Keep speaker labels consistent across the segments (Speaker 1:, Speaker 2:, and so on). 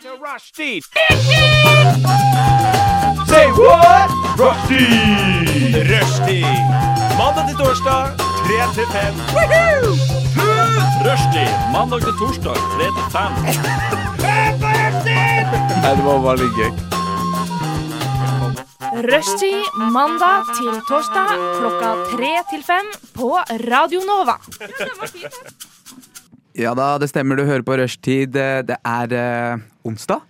Speaker 1: to Rushdie. Say what? Rushdie. Rushdie. Mandag til torsdag, 3 til 5. Rushdie. Mandag til torsdag, 3 til 5.
Speaker 2: Rushtid mandag til torsdag klokka tre til fem på Radio Nova.
Speaker 3: Ja da, det stemmer. Du hører på rushtid. Det er eh, onsdag.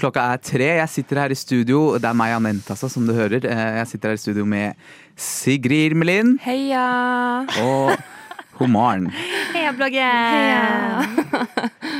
Speaker 3: Klokka er tre. Jeg sitter her i studio. Det er meg, Anent, altså, som du hører. Eh, jeg sitter her i studio med Sigrid Irmelin
Speaker 4: Heia!
Speaker 3: og god morgen.
Speaker 4: Heia, bloggen!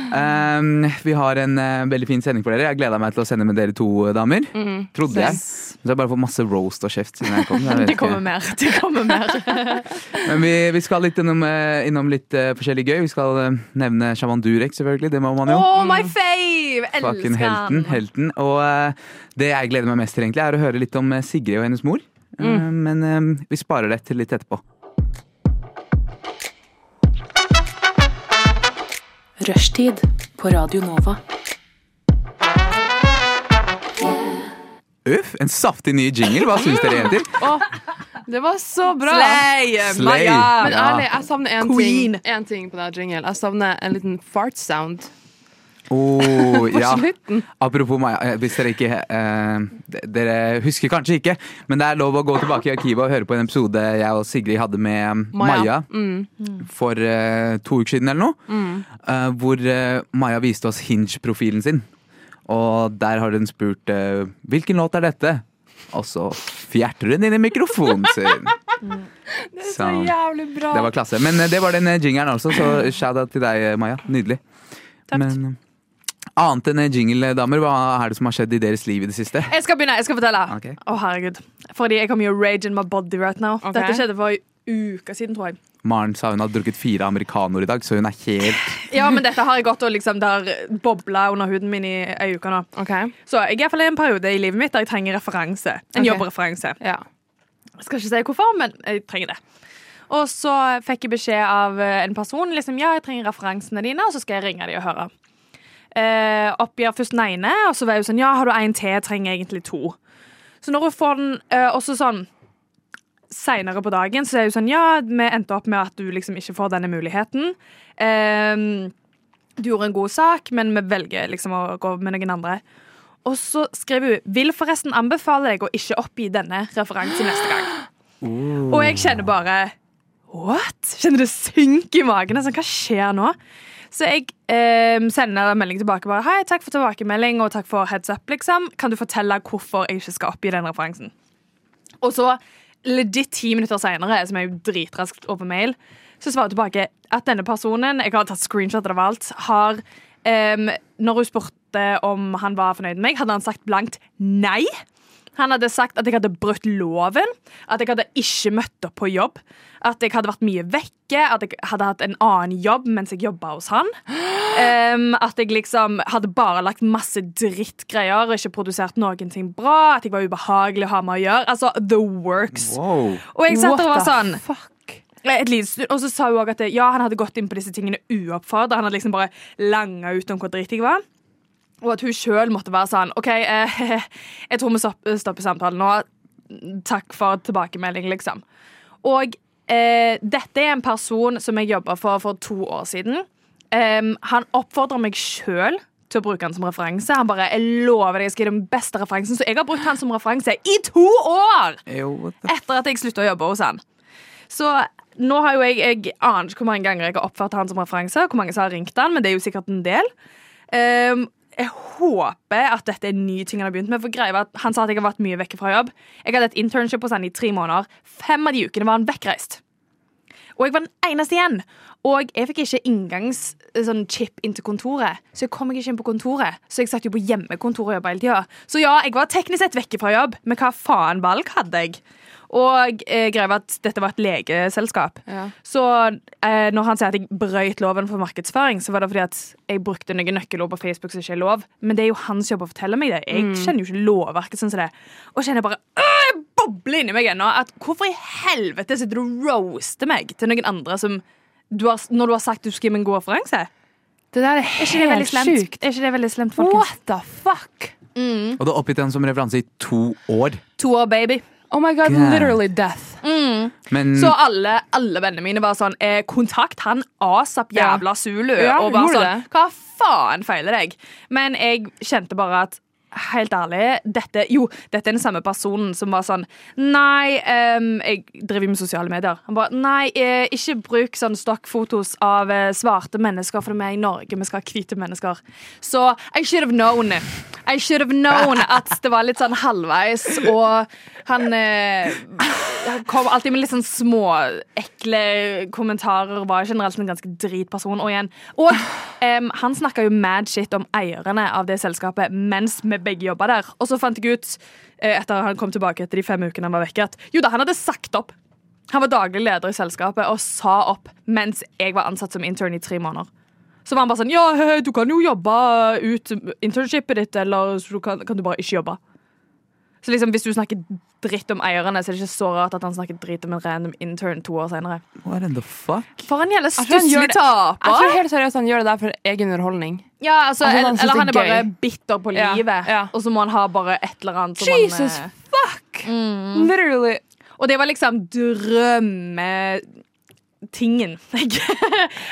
Speaker 3: Um, vi har en eh, veldig fin sending for dere. Jeg gleda meg til å sende med dere to eh, damer.
Speaker 4: Mhm.
Speaker 3: Trodde jeg. Så jeg har bare fått masse roast og kjeft siden jeg kom. Jeg vet
Speaker 4: Det
Speaker 3: ikke.
Speaker 4: kommer mer. Det kommer mer.
Speaker 3: Men vi, vi skal litt innom, eh, innom litt eh, forskjellig gøy. Vi skal eh, nevne Shaman Durek, selvfølgelig. Det må man jo.
Speaker 4: Oh, my fave!
Speaker 3: Fucking
Speaker 4: Elsker
Speaker 3: helten,
Speaker 4: han.
Speaker 3: helten. Og eh, det jeg gleder meg mest til, egentlig, er å høre litt om eh, Sigrid og hennes mor. Eh,
Speaker 4: Mm.
Speaker 3: men eh, vi sparer det til litt etterpå.
Speaker 5: Rushtid på Radio Nova.
Speaker 3: Uff, en saftig ny jingle. Hva syns dere, jenter?
Speaker 6: Det var så bra!
Speaker 4: Slay! eh,
Speaker 3: Slay.
Speaker 6: Men
Speaker 3: Ja.
Speaker 6: ærlig, jeg savner én ting,
Speaker 4: Queen.
Speaker 6: en ting på denne jingle. Jeg savner en liten fart sound.
Speaker 3: Oh, ja.
Speaker 6: slutten.
Speaker 3: Apropos Maja, eh, hvis dere ikke eh, d- Dere husker kanskje ikke, men det er lov å gå tilbake i arkivet og høre på en episode jeg og Sigrid hadde med eh,
Speaker 6: Maja.
Speaker 3: Maja for eh, to uker siden eller noe. eh, hvor eh, Maja viste oss Hinge-profilen sin. Og der har hun spurt eh, 'Hvilken låt er dette?' Og så fjerter hun inn i mikrofonen sin. Det er så
Speaker 6: Jævlig bra!
Speaker 3: det var klasse. Men eh, det var den eh, jingeren altså, så shout-out til deg, eh, Maja. Nydelig. Takk. Men eh, annet enn eh, jingle, eh, damer, hva er det som har skjedd i deres liv i det siste?
Speaker 4: Jeg skal begynne. jeg skal fortelle Å,
Speaker 3: Ok.
Speaker 4: herregud. Fordi jeg kommer jo rage in my body right now.
Speaker 6: Ok.
Speaker 4: Dette skjedde for en uke siden, tror jeg.
Speaker 3: Maren sa hun hadde drukket fire americanoer i dag, så hun er helt
Speaker 4: Ja, men dette har jeg gått og liksom Det har bobla under huden min i ei uke nå.
Speaker 6: OK.
Speaker 4: Så jeg er i hvert fall i en periode i livet mitt der jeg trenger referanse. En
Speaker 6: Ok.
Speaker 4: jobbreferanse.
Speaker 6: Ja.
Speaker 4: Jeg skal ikke si hvorfor, men jeg trenger det. Og så fikk jeg beskjed av eh, en person liksom, ja, jeg trenger referansene dine, og så skal jeg ringe dem og høre. Eh, oppgir først den ene, og så var jeg jo sånn, ja, har du en til, jeg trenger egentlig to. Så når hun får den, eh, også sånn, senere på dagen, så er jeg jo sånn, ja, vi endte opp med at du liksom ikke får denne muligheten. Eh, du gjorde en god sak, men vi velger liksom å gå med noen andre. Og så skriver hun, vil forresten anbefale deg å ikke oppgi denne referansen neste gang. Og jeg kjenner bare What? Kjenner det synke i magen. Altså, hva skjer nå? Så jeg eh, sender en melding tilbake. bare, Hei, takk for tilbakemelding og takk for heads up. liksom. Kan du fortelle hvorfor jeg ikke skal oppgi den referansen? Og så, legit ti minutter seinere, som er jo dritraskt over mail, så svarer hun tilbake at denne personen jeg har tatt screenshot av det var alt, har em, Når hun spurte om han var fornøyd med meg, hadde han sagt blankt nei. Han hadde sagt at jeg hadde brutt loven, at jeg hadde ikke møtt opp på jobb, at jeg hadde vært mye vekke, at jeg hadde hatt en annen jobb mens jeg jobba hos han. Em, at jeg liksom hadde bare lagt masse drittgreier og ikke produsert noen ting bra. At jeg var ubehagelig å ha med å gjøre. Altså, the works.
Speaker 3: wow.
Speaker 4: Og jeg satt
Speaker 6: What
Speaker 4: der og var
Speaker 6: the
Speaker 4: sånn
Speaker 6: Fuck.
Speaker 4: et lite stund, Og så sa hun også at det, ja, han hadde gått inn på disse tingene uoppfordra. Han hadde liksom bare langa ut om hvor drit jeg var. Og at hun sjøl måtte være sånn OK, eh, jeg tror vi stopp- stopper samtalen nå. Takk for tilbakemelding, liksom. Og eh, dette er en person som jeg jobba for for to år siden. Em, han oppfordrer meg sjøl til å bruke han som referanse. Han bare, jeg lover deg, jeg skal gi deg den beste referansen. Så jeg har brukt han som referanse i to år!
Speaker 3: Yo, what the-
Speaker 4: etter at jeg slutta å jobbe hos han. Så nå har jo jeg, jeg aner ikke hvor mange ganger jeg har oppført han som referanse, hvor mange som har ringt han, men det er jo sikkert en del. Ehm, jeg håper at dette er en ny ting han har begynt med. For greia var at Han sa at jeg har vært mye vekke fra jobb. Jeg hadde et internship hos han i tre måneder. Fem av de ukene var han vekkreist. Og jeg var den eneste igjen. Og jeg fikk ikke inngangs sånn chip inn til kontoret, så jeg kom ikke inn på kontoret. Så jeg satt jo på hjemmekontor og jobba hele tida. Så ja, jeg var teknisk sett vekke fra jobb, men hva faen valg hadde jeg? Og eh, greia var at dette var et legeselskap.
Speaker 6: Ja.
Speaker 4: Så eh, når han sier at jeg brøyt loven for markedsføring, så var det fordi at jeg brukte noen nøkkelord på Facebook som ikke er lov. Men det er jo hans jobb å fortelle meg det. Jeg
Speaker 6: Mm.
Speaker 4: kjenner jo ikke lovverket sånn som det. Og kjenner bare «Åh, jeg bobler inni meg ennå. At hvorfor i helvete sitter du og roaster meg til noen andre som du har, når du har sagt du skal gi meg en god referanse?
Speaker 6: Det der er
Speaker 4: Er ikke det veldig
Speaker 6: helt
Speaker 4: slemt?
Speaker 6: sjukt.
Speaker 4: Er ikke det veldig slemt, folkens?
Speaker 6: What the fuck?
Speaker 3: Og det er oppgitt han som referanse i to år.
Speaker 4: To år baby.
Speaker 6: Oh my god,
Speaker 3: God.
Speaker 6: literally death.
Speaker 3: Men
Speaker 6: Mm.
Speaker 4: Så alle, alle vennene mine var sånn eh, Kontakt han asap jævla Zulu.
Speaker 6: Ja,
Speaker 4: og var
Speaker 6: gjorde
Speaker 4: sånn
Speaker 6: det?
Speaker 4: Hva faen feiler deg? Men jeg kjente bare at Helt ærlig, dette, jo, dette er den samme personen som var sånn Nei, em, jeg driver med sosiale medier. Han bare Nei, eh, ikke bruk sånn stokkfotos av eh, svarte mennesker, for vi er i Norge, vi skal ha hvite mennesker. Så I should have known. I should have known at det var litt sånn halvveis, og han eh, han kom alltid med litt sånn små, ekle kommentarer. Var generelt en ganske dritperson. Og igjen Og em, han snakka jo mad shit om eierne av det selskapet mens vi begge jobba der. Og så fant jeg ut, eh, etter han kom tilbake etter de fem ukene han var vekke, at jo da, han hadde sagt opp. Han var daglig leder i selskapet og sa opp mens jeg var ansatt som intern i tre måneder. Så var han bare sånn Ja, hei, hei, du kan jo jobbe ut internshipet ditt, eller så du kan, kan du bare ikke jobbe. Så liksom, hvis du snakker dritt om eierne, så er det ikke så rart at han snakker dritt om en random intern to år senere.
Speaker 3: what in the fuck?
Speaker 4: For han gjelder
Speaker 6: tror han gjør
Speaker 4: stusslig
Speaker 6: det- Jeg
Speaker 4: taper.
Speaker 6: tror helt seriøst han gjør det der for egen underholdning.
Speaker 4: Ja, altså,
Speaker 6: Jeg tror han
Speaker 4: eller, eller
Speaker 6: synes det er
Speaker 4: han er bare
Speaker 6: gøy.
Speaker 4: bitter på
Speaker 6: Ja,
Speaker 4: livet,
Speaker 6: ja.
Speaker 4: og så må han ha bare et eller annet. som
Speaker 6: Jesus
Speaker 4: han, eh,
Speaker 6: fuck! Literally.
Speaker 4: og det var liksom drømmetingen jeg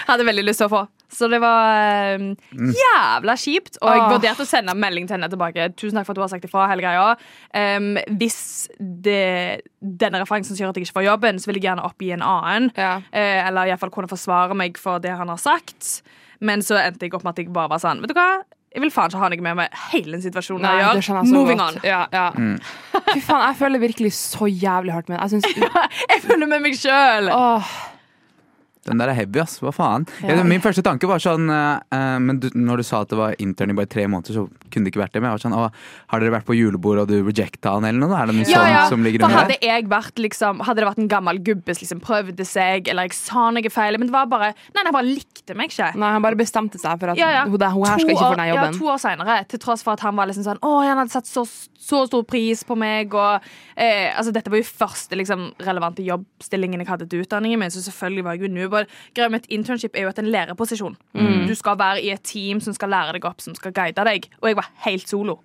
Speaker 4: hadde veldig lyst til å få. Så det var eh, jævla kjipt. Og jeg
Speaker 6: Åh.
Speaker 4: vurderte å sende en melding til henne tilbake. Tusen takk for at du har sagt ifra hele greia. Em, hvis det, denne referansen gjør at jeg ikke får jobben, så vil jeg gjerne oppgi en annen.
Speaker 6: Ja.
Speaker 4: Eh, eller iallfall kunne forsvare meg for det han har sagt. Men så endte jeg opp med at jeg bare var sånn Vet du hva? Jeg vil faen ikke ha noe med meg hele den situasjonen å
Speaker 6: Nei, det
Speaker 4: gjøre.
Speaker 6: skjønner jeg så
Speaker 4: Moving
Speaker 6: godt.
Speaker 4: on.
Speaker 6: Ja, ja. Fy faen, jeg føler virkelig så jævlig hardt med det. Jeg synes,
Speaker 4: Jeg følger med meg sjøl.
Speaker 6: åh,
Speaker 3: Den der er heavy, ass. Hva faen? Jeg- min første tanke var sånn eh, eh, Men du, når du sa at det var intern i bare tre måneder, så kunne det ikke vært det. Men jeg var sånn, å, har dere vært på julebord og du rejecta han eller noe? Er det noe
Speaker 4: Ja,
Speaker 3: sånt
Speaker 4: ja.
Speaker 3: som ligger
Speaker 4: For
Speaker 3: under
Speaker 4: hadde,
Speaker 3: der?
Speaker 4: jeg vært, liksom, hadde det vært en gammel gubbe som liksom, prøvde seg, eller jeg sa noe feil Men det var bare Nei, nei, jeg bare likte meg ikke.
Speaker 6: nei, han bare bestemte seg for at
Speaker 4: Ja, ja.
Speaker 6: Hun, der, hun her skal
Speaker 4: To
Speaker 6: ikke
Speaker 4: år-
Speaker 6: få den
Speaker 4: Ja,
Speaker 6: jobben.
Speaker 4: to år senere, til tross for at han var liksom sånn Å, han hadde satt så, så stor pris på meg, og eh, Altså, dette var jo første liksom, relevante jobbstillingen jeg hadde til utdanningen min, så selvfølgelig var jeg jo newbod. Greia med et internship er jo at en læreposisjon.
Speaker 6: Mm.
Speaker 4: Du skal være i et team som skal lære deg opp, som skal guide deg, og jeg var helt solo.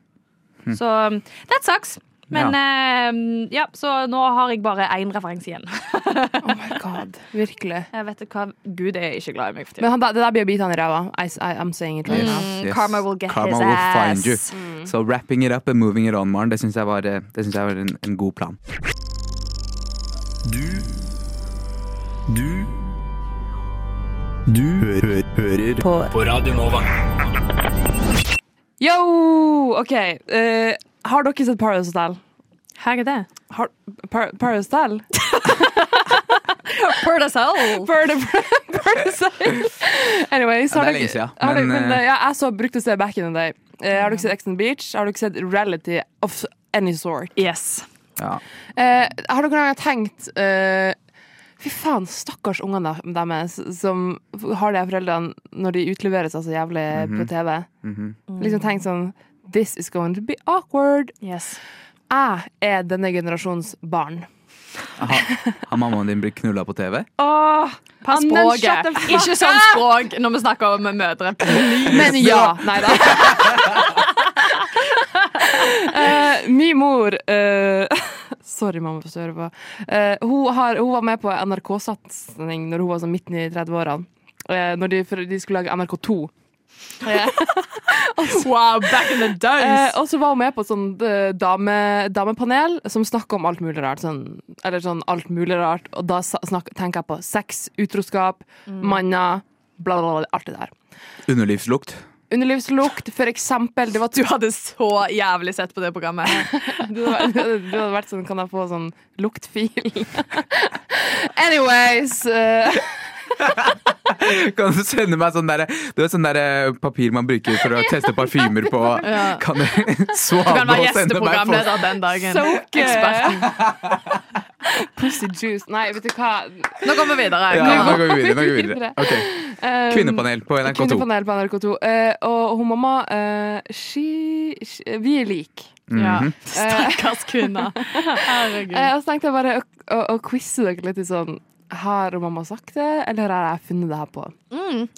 Speaker 6: Hm.
Speaker 4: Så um, that sucks. Men eh, ja, så nå har jeg bare én referanse igjen.
Speaker 6: Oh my god, virkelig.
Speaker 4: Jeg vet ikke hva Gud er ikke glad i meg for tiden.
Speaker 6: Men han, der- det der blir å bite han i ræva. I, I, I'm saying it right now.
Speaker 4: Mm.
Speaker 3: Yes, yes.
Speaker 4: karma will get
Speaker 3: Karma
Speaker 4: his
Speaker 3: will
Speaker 4: ass. Mm.
Speaker 3: find you. Så wrapping it up and moving it on, Maren, det syns jeg var, eh, det synes jeg var en, en god plan.
Speaker 1: Du Du Du hø hø hører på. Radio Nova.
Speaker 6: Yo, OK. eh, har dere sett Paradise Hotel?
Speaker 4: Hva er det?
Speaker 6: Har, par, Paradise Hotel? Paradise Paradise Hotel. Anyways, har
Speaker 3: Ja, det er
Speaker 6: dere-
Speaker 3: lenge siden,
Speaker 6: har dere-
Speaker 3: men,
Speaker 6: men,
Speaker 3: eh, Mm.
Speaker 6: ja, jeg så brukte å se Back in the Day. Eh, har dere sett Ex on the Beach? Har dere sett Reality of any sort?
Speaker 4: Yes.
Speaker 3: Ja.
Speaker 6: Eh, har dere noen gang tenkt eh, Fy faen, stakkars ungene der- deres som har de foreldrene når de utleveres altså jævlig
Speaker 3: Mhm.
Speaker 6: på TV. Liksom tenkt sånn This is going to be awkward.
Speaker 4: yes.
Speaker 6: Jeg er denne generasjons barn.
Speaker 3: Har, har mammaen din blitt knulla på TV?
Speaker 6: Åh,
Speaker 4: Pass
Speaker 6: Annen, shut
Speaker 4: språket.
Speaker 6: the fuck
Speaker 4: Ikke sånn språk når vi snakker om mødre.
Speaker 6: Men ja. Nei da. Eh, min mor eh, Sorry, mamma, for å høre på. Eh, hun, har, hun var med på NRK-satsing når hun var sånn midten i 30-årene. Eh, når de, for de skulle lage NRK2.
Speaker 4: Wow, back in the
Speaker 6: Eh, og så var hun med på et sånt eh, dame, damepanel som snakka om alt mulig rart. Sånn, eller sånn alt mulig rart. Og da sa- snak, tenker jeg på sex, utroskap, manner, bla, bla, bla. Alt det der.
Speaker 3: Underlivslukt.
Speaker 6: Underlivslukt, for eksempel. Det var
Speaker 4: Du hadde så jævlig sett på det programmet.
Speaker 6: Du hadde, du hadde- du hadde vært sånn Kan jeg få sånn luktfil? Anyways eh,
Speaker 3: Kan du sende meg sånn derre Du vet sånn derre papir man bruker for å teste parfymer på? Kan du
Speaker 4: Du kan
Speaker 3: svare og sende
Speaker 4: være
Speaker 3: meg på?
Speaker 4: gjesteprogramleder den dagen.
Speaker 6: Soak, eh,
Speaker 4: Eksperten.
Speaker 6: Pussy juice Nei, vet du hva
Speaker 4: Nå går vi videre.
Speaker 3: Ja,
Speaker 4: Kom
Speaker 3: nå
Speaker 4: igjen.
Speaker 3: går vi videre. Nå går vi videre. Ok,
Speaker 6: Eh,
Speaker 3: Kvinnepanel på NRK2.
Speaker 6: Kvinnepanel på NRK2 Eh, Og hun mamma eh, she, she, eh, Vi er lik
Speaker 4: Ja. Eh,
Speaker 3: Mhm.
Speaker 4: Stakkars kvinner. Herregud.
Speaker 6: Eh, Og så tenkte jeg bare å, å, å quizze dere litt i sånn Har hun mamma sagt det? Eller har jeg funnet det her på?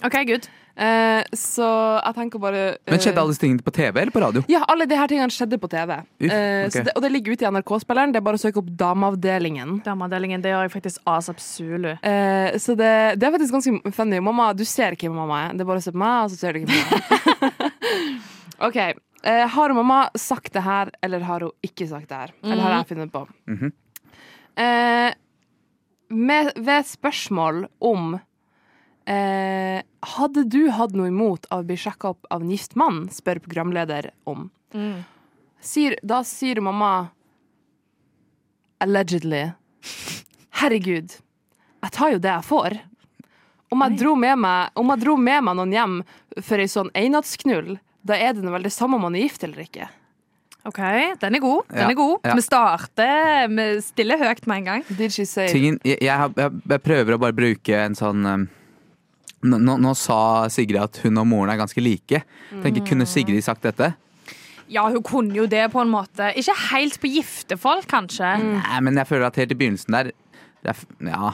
Speaker 4: OK, good.
Speaker 6: Eh, så jeg tenker bare eh,
Speaker 3: Men skjedde alle disse tingene på TV eller på radio?
Speaker 6: Ja, alle de her tingene skjedde på TV. Eh,
Speaker 3: ok.
Speaker 6: så det, og det ligger ute i NRK-spilleren. Det er bare å søke opp Dameavdelingen.
Speaker 4: Dameavdelingen, det gjør jeg faktisk asap zulu.
Speaker 6: Eh, så det, det er faktisk ganske funny. Mamma, du ser ikke hvem mamma er. Det er bare å se på meg, og så ser du ikke på meg. OK. Eh, har mamma sagt det her, eller har hun ikke sagt det her? Eller har jeg funnet på?
Speaker 3: Mhm.
Speaker 6: eh, med, ved et spørsmål om eh, Hadde du hatt noe imot av å bli sjekka opp av en gift mann, spør programleder om.
Speaker 3: Mm.
Speaker 6: Sier, da sier mamma allegedly Herregud. Jeg tar jo det jeg får. Om jeg, dro med meg, om jeg dro med meg noen hjem for ei sånn einattsknull, da er det nå vel det samme om man er gift eller ikke.
Speaker 4: OK, den er god. Den
Speaker 3: Ja,
Speaker 4: er god.
Speaker 3: ja.
Speaker 4: Vi starter med stille høyt med en gang.
Speaker 6: Did she say
Speaker 3: Tingen, jeg, jeg, har- jeg, jeg prøver å bare bruke en sånn um, nå, nå, nå sa Sigrid at hun og moren er ganske like.
Speaker 4: Mm.
Speaker 3: Tenker, Kunne Sigrid sagt dette?
Speaker 4: Ja, hun kunne jo det på en måte. Ikke helt på giftefolk, kanskje.
Speaker 3: Nei, men jeg føler at helt i begynnelsen der det er, f- Ja.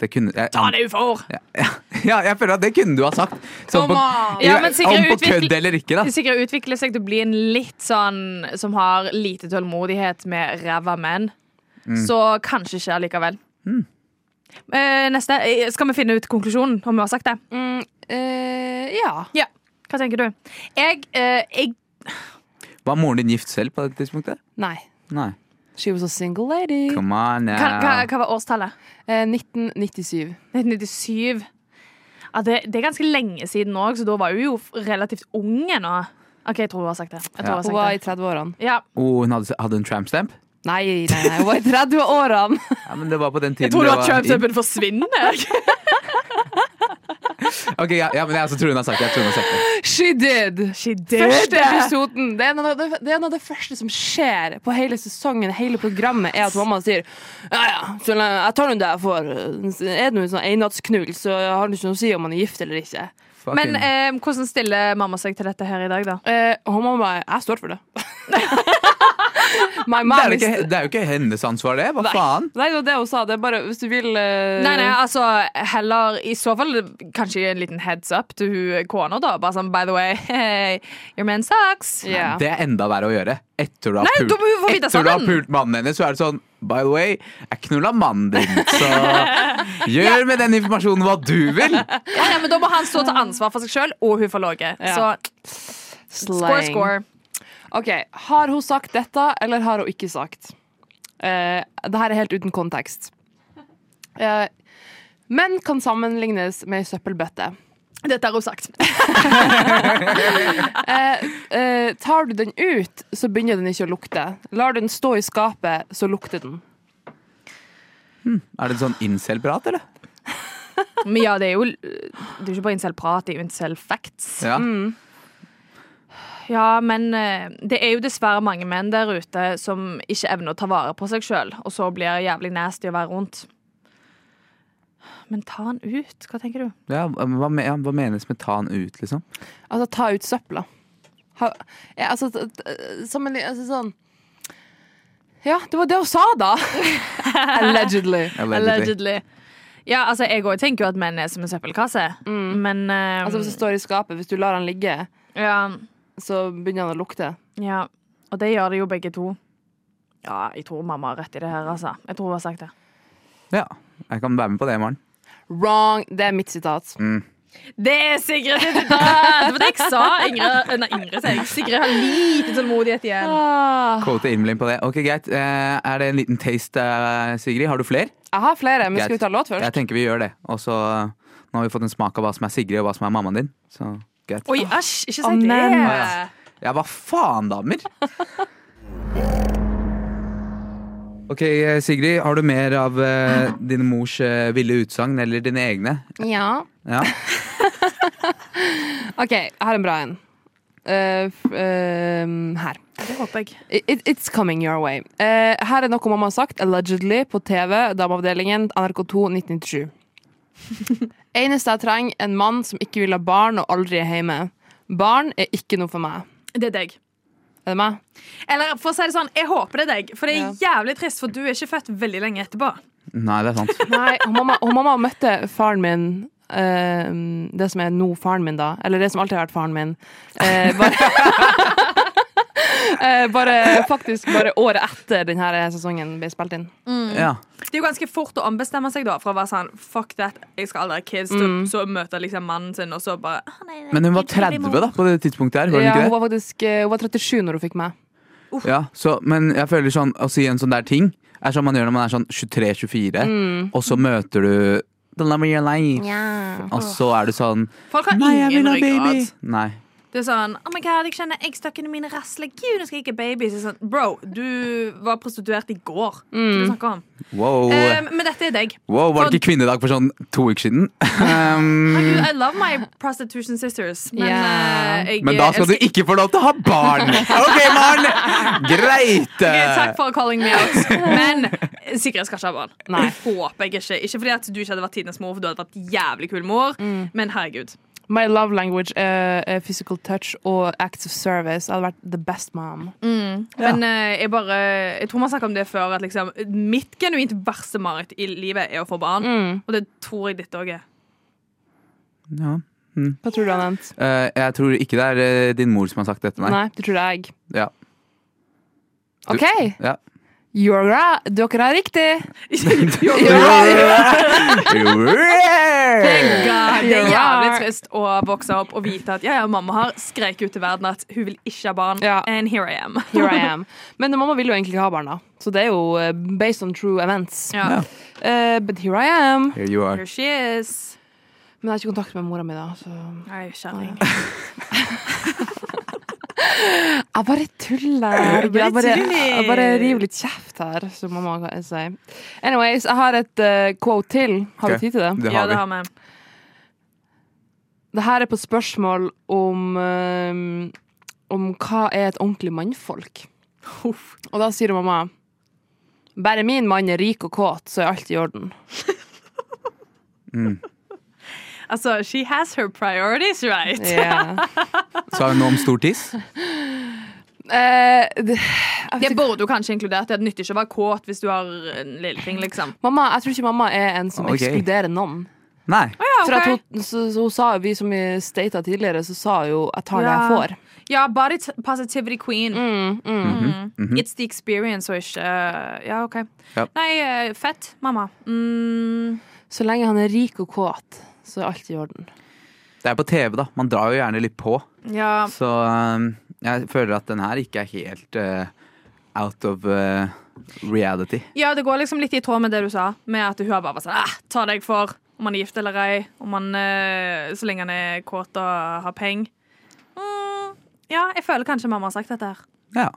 Speaker 3: Det kunne jeg,
Speaker 4: Ta det ufor!
Speaker 3: ja, ja, ja, jeg føler at det kunne du ha sagt. Sånn på,
Speaker 4: Ja, men Sigrid
Speaker 3: om på
Speaker 4: utvikler-
Speaker 3: kødd eller ikke, da.
Speaker 4: Det sikkert utvikler seg til å bli en litt sånn som har lite tålmodighet med ræva menn.
Speaker 3: Mm.
Speaker 4: Så kanskje ikke allikevel. Eh, neste. Eh, Skal vi finne ut konklusjonen, om vi har sagt det?
Speaker 6: mm, eh, Ja.
Speaker 4: Ja. Hva tenker du? Jeg, eh, jeg
Speaker 3: Var moren din gift selv på det tidspunktet?
Speaker 6: Nei.
Speaker 3: Nei.
Speaker 6: She was a single lady.
Speaker 3: Come on now.
Speaker 4: hva, hva, hva var årstallet?
Speaker 6: Eh, 1997.
Speaker 4: 1997. Ja, det, det er ganske lenge siden òg, så da var hun jo f- relativt ung ennå. OK, jeg tror hun har sagt det. Jeg tror
Speaker 3: Ja.
Speaker 4: hun har
Speaker 6: Hun var i
Speaker 4: sagt det.
Speaker 6: 30-årene.
Speaker 4: Ja,
Speaker 3: Oh, hun hadde, hadde hun trampstamp?
Speaker 6: Nei, nei, nei, hun var i 30-årene!
Speaker 3: Ja, men det var på den tiden
Speaker 4: Jeg tror
Speaker 3: det
Speaker 4: du at
Speaker 3: var
Speaker 4: Trump-tuppen forsvinner.
Speaker 3: Ok, ja, ja, men jeg også tror hun har sagt det. Jeg tror hun har sagt det.
Speaker 6: She did!
Speaker 4: She
Speaker 6: Første episoden. Det er, noe, av det, det er noe av det første som skjer på hele sesongen, hele programmet, er at mamma sier Ja, ja, så lenge- jeg tar nå det jeg får. Er det noe sånn enattsknull, så har det ikke noe å si om man er gift eller ikke.
Speaker 3: Fucking-
Speaker 4: Men eh, hvordan stiller mamma seg til dette her i dag, da?
Speaker 6: Eh, og mamma bare Jeg står for det. My
Speaker 3: det,
Speaker 6: mom
Speaker 3: er jo
Speaker 6: is
Speaker 3: ikke, det er jo ikke hennes ansvar, det. Hva faen?
Speaker 6: Nei, det var det hun sa. Det er bare hvis du vil eh,
Speaker 4: Nei, nei, altså, heller I så fall kanskje en liten heads up til hun kona, da. Bare sånn, by the way, your man sucks.
Speaker 6: Ja.
Speaker 3: Det er enda verre å gjøre. Etter du har
Speaker 4: Nei,
Speaker 3: pult,
Speaker 4: da må hun få vite
Speaker 3: etter du har
Speaker 4: sammen.
Speaker 3: pult mannen hennes, så er det sånn By the way, jeg knulla mannen din, så gjør med den informasjonen hva du vil.
Speaker 4: Ja, ja, men da må han stå til ansvar for seg sjøl, og hun får låge.
Speaker 6: Ja.
Speaker 4: Så score,
Speaker 6: Slang.
Speaker 4: score.
Speaker 6: OK. Har hun sagt dette, eller har hun ikke sagt? Uh, det her er helt uten kontekst. Eh, menn kan sammenlignes med ei søppelbøtte.
Speaker 4: Dette har hun sagt.
Speaker 6: Eh, eh, tar du den ut, så begynner den ikke å lukte. Lar du den stå i skapet, så lukter den.
Speaker 3: Er det sånn incel-prat, eller?
Speaker 4: Men ja, det er jo Det er jo ikke bare incel-prat, det er jo incel-facts.
Speaker 3: Ja.
Speaker 4: Ja, men eh, det er jo dessverre mange menn der ute som ikke evner å ta vare på seg sjøl, og så blir det jævlig nasty å være rundt. Men ta han ut, hva tenker du?
Speaker 3: Ja, hva, me- ja, hva menes med ta han ut, liksom?
Speaker 6: Altså, ta ut søpla. Ha, ja, altså, t- t- sammenli- altså sånn Ja, det var det hun sa, da! Allegedly.
Speaker 3: Allegedly.
Speaker 4: Ja, altså, jeg òg tenker jo at menn er som en søppelkasse, men eh,
Speaker 6: Altså, hvis det står i skapet, hvis du lar den ligge,
Speaker 4: ja,
Speaker 6: så begynner den å lukte.
Speaker 4: ja. Og det gjør det jo begge to. Ja, jeg tror mamma har rett i det her, altså. Jeg tror hun har sagt det.
Speaker 3: Ja, jeg kan være med på det i morgen.
Speaker 6: Wrong! Det er mitt sitat.
Speaker 4: Det er Sigrid sitt sitat! Det var det jeg sa. Ingrid, nei, Ingrid sier jeg. Sigrid har lite tålmodighet igjen.
Speaker 6: Ah,
Speaker 3: Quote Imlin på det. Ok, Greit. Eh, Er det en liten taste, eh, Sigrid? Har du flere?
Speaker 6: jeg har flere, men skal vi ta
Speaker 3: Greit. Jeg
Speaker 6: låt først?
Speaker 3: tenker vi gjør det. Og så eh, Nå har vi fått en smak av hva som er Sigrid, og hva som er mammaen din. Så greit.
Speaker 4: Oi, æsj, ikke si
Speaker 6: Å, men.
Speaker 4: det.
Speaker 3: Ja, Ja, hva faen, damer? Ok, eh, Sigrid, har du mer av eh, din mors eh, ville utsagn eller dine egne?
Speaker 6: Ja.
Speaker 3: Ja.
Speaker 6: OK, jeg har en bra en. Eh, f- eh, her.
Speaker 4: Det håper jeg.
Speaker 6: It, it's coming your way. Eh, her er noe mamma har sagt, allegedly, på TV, Dameavdelingen, NRK2 1997. Eneste jeg trenger, en mann som ikke vil ha barn og aldri er hjemme. Barn er ikke noe for meg.
Speaker 4: Det er deg.
Speaker 6: Er det meg?
Speaker 4: Eller for å si det sånn, jeg håper det er deg, for det er jævlig trist, for du er ikke født veldig lenge etterpå.
Speaker 3: Nei, det er sant.
Speaker 6: Nei, og mamma, og mamma møtte faren min eh, det som er nå faren min, da. Eller det som alltid har vært faren min. Eh, bare, eh, bare faktisk bare året etter denne sesongen ble spilt inn.
Speaker 3: Ja.
Speaker 4: Det er jo ganske fort å ombestemme seg da fra å være sånn Fuck that, jeg skal aldri ha kids. til å-
Speaker 6: Mm.
Speaker 4: Så møter liksom mannen sin, og så bare «Å, nei, nei,
Speaker 3: Men hun var
Speaker 4: jeg
Speaker 3: 30
Speaker 4: blir mor».
Speaker 3: da, på det tidspunktet her, var hun
Speaker 6: Ja,
Speaker 3: ikke
Speaker 6: hun
Speaker 3: det?
Speaker 6: var faktisk eh, hun var 37 når hun fikk meg.
Speaker 3: Ja, så, men jeg føler sånn, å si en sånn der ting, er sånn man gjør når man er sånn 23-24,
Speaker 4: Mm.
Speaker 3: og så møter du The love of your life. Og så er du sånn
Speaker 4: Folk har
Speaker 3: Nei, jeg vil
Speaker 4: ingen
Speaker 3: ha baby!
Speaker 4: ryggrad.
Speaker 3: Nei.
Speaker 4: Det er sånn Oh my god, jeg kjenner eggstokkene mine rasler. Gud, nå skal jeg ikke ha baby. Så er det sånn, Bro, du var prostituert i går. Hva
Speaker 6: Mm.
Speaker 4: er det du snakker om?
Speaker 3: Wow.
Speaker 4: Eh, men dette er deg.
Speaker 3: wow. Var det ikke kvinnedag for sånn to uker siden? Mm.
Speaker 4: Herregud, I love my prostitution sisters, men
Speaker 6: Ja.
Speaker 4: eh, jeg
Speaker 3: Men da skal du
Speaker 4: elsker-
Speaker 3: ikke få lov til å ha barn! OK, Maren! Greit!
Speaker 4: Ok, Takk for calling me out. Men eh, sikkert skal ikke ha barn.
Speaker 6: Nei.
Speaker 4: Håper jeg ikke. Ikke fordi at du ikke hadde vært tidenes mor, for du hadde vært jævlig kul mor,
Speaker 6: Mm.
Speaker 4: men herregud.
Speaker 6: My love language er er physical touch og acts of service. Jeg hadde vært the best mom.
Speaker 4: Men eh, jeg bare Jeg tror man snakket om det før, at liksom mitt genuint verste mareritt i livet er å få barn. Og det tror jeg ditt òg er.
Speaker 3: Ja.
Speaker 6: Hva tror du, Anent?
Speaker 3: Eh, jeg tror ikke det er eh, din mor som har sagt dette,
Speaker 6: Nei.
Speaker 3: nei.
Speaker 6: det tror jeg.
Speaker 3: Ja. Du-
Speaker 6: OK,
Speaker 3: ja.
Speaker 6: you're right. dere er riktig.
Speaker 4: Ja, det er jævlig
Speaker 6: You're right.
Speaker 4: trist å vokse opp og vite at ja, ja, mamma har skreket ut til verden at hun vil ikke ha barn.
Speaker 6: Ja.
Speaker 4: And here I am.
Speaker 6: Here I am. Men mamma vil jo egentlig ikke ha barn, da. Så det er jo eh, based on true events.
Speaker 4: Ja.
Speaker 3: Ja.
Speaker 6: Eh, but here I am.
Speaker 3: Here you are.
Speaker 4: Here she is.
Speaker 6: Men jeg har ikke kontakt med mora mi, da. Så.
Speaker 4: Nei, kjerring.
Speaker 6: Jeg bare tuller. Jeg
Speaker 4: bare
Speaker 6: bare,
Speaker 4: tuller.
Speaker 6: jeg bare river litt kjeft her, som mamma kan si. Anyways, jeg har et eh, quote til. Har
Speaker 3: Ok.
Speaker 6: vi tid til det?
Speaker 3: Det
Speaker 4: Ja,
Speaker 3: har
Speaker 4: det
Speaker 3: vi.
Speaker 4: har vi.
Speaker 6: Det her er på spørsmål om eh, Om hva er et ordentlig mannfolk. Og da sier mamma Bare min mann er rik og kåt, så er alt i orden.
Speaker 4: Altså, she has her priorities right.
Speaker 6: Yeah.
Speaker 3: Sa hun noe om stor tiss?
Speaker 6: Eh, det,
Speaker 4: Det
Speaker 6: jeg vet ikke-
Speaker 4: burde jo kanskje inkludert. Det nytter ikke å være kåt hvis du har en lillefing, liksom.
Speaker 6: mamma, jeg tror ikke mamma er en som
Speaker 3: Ok.
Speaker 6: ekskluderer noen.
Speaker 3: Nei.
Speaker 6: For at hun, så, så hun sa, vi som vi stata tidligere, så sa hun 'jeg tar det
Speaker 4: Ja.
Speaker 6: jeg får'.
Speaker 4: Ja, body t- positivity queen. Mhm,
Speaker 6: Mm, mm.
Speaker 4: It's the experience og ikke Ja, OK.
Speaker 3: Ja.
Speaker 4: Nei, eh, fett, mamma. Mm,
Speaker 6: Så lenge han er rik og kåt, så er alt i orden.
Speaker 3: Det er på TV, da. Man drar jo gjerne litt på.
Speaker 4: ja.
Speaker 3: Så um, jeg føler at den her ikke er helt eh, out of eh, reality.
Speaker 4: ja, det går liksom litt i tråd med det du sa, med at hun har bare vært sånn ah, Ta deg for om han er gift eller ei, om han eh, Så lenge han er kåt og har peng. Mm, ja, jeg føler kanskje mamma har sagt dette her.
Speaker 3: Ja.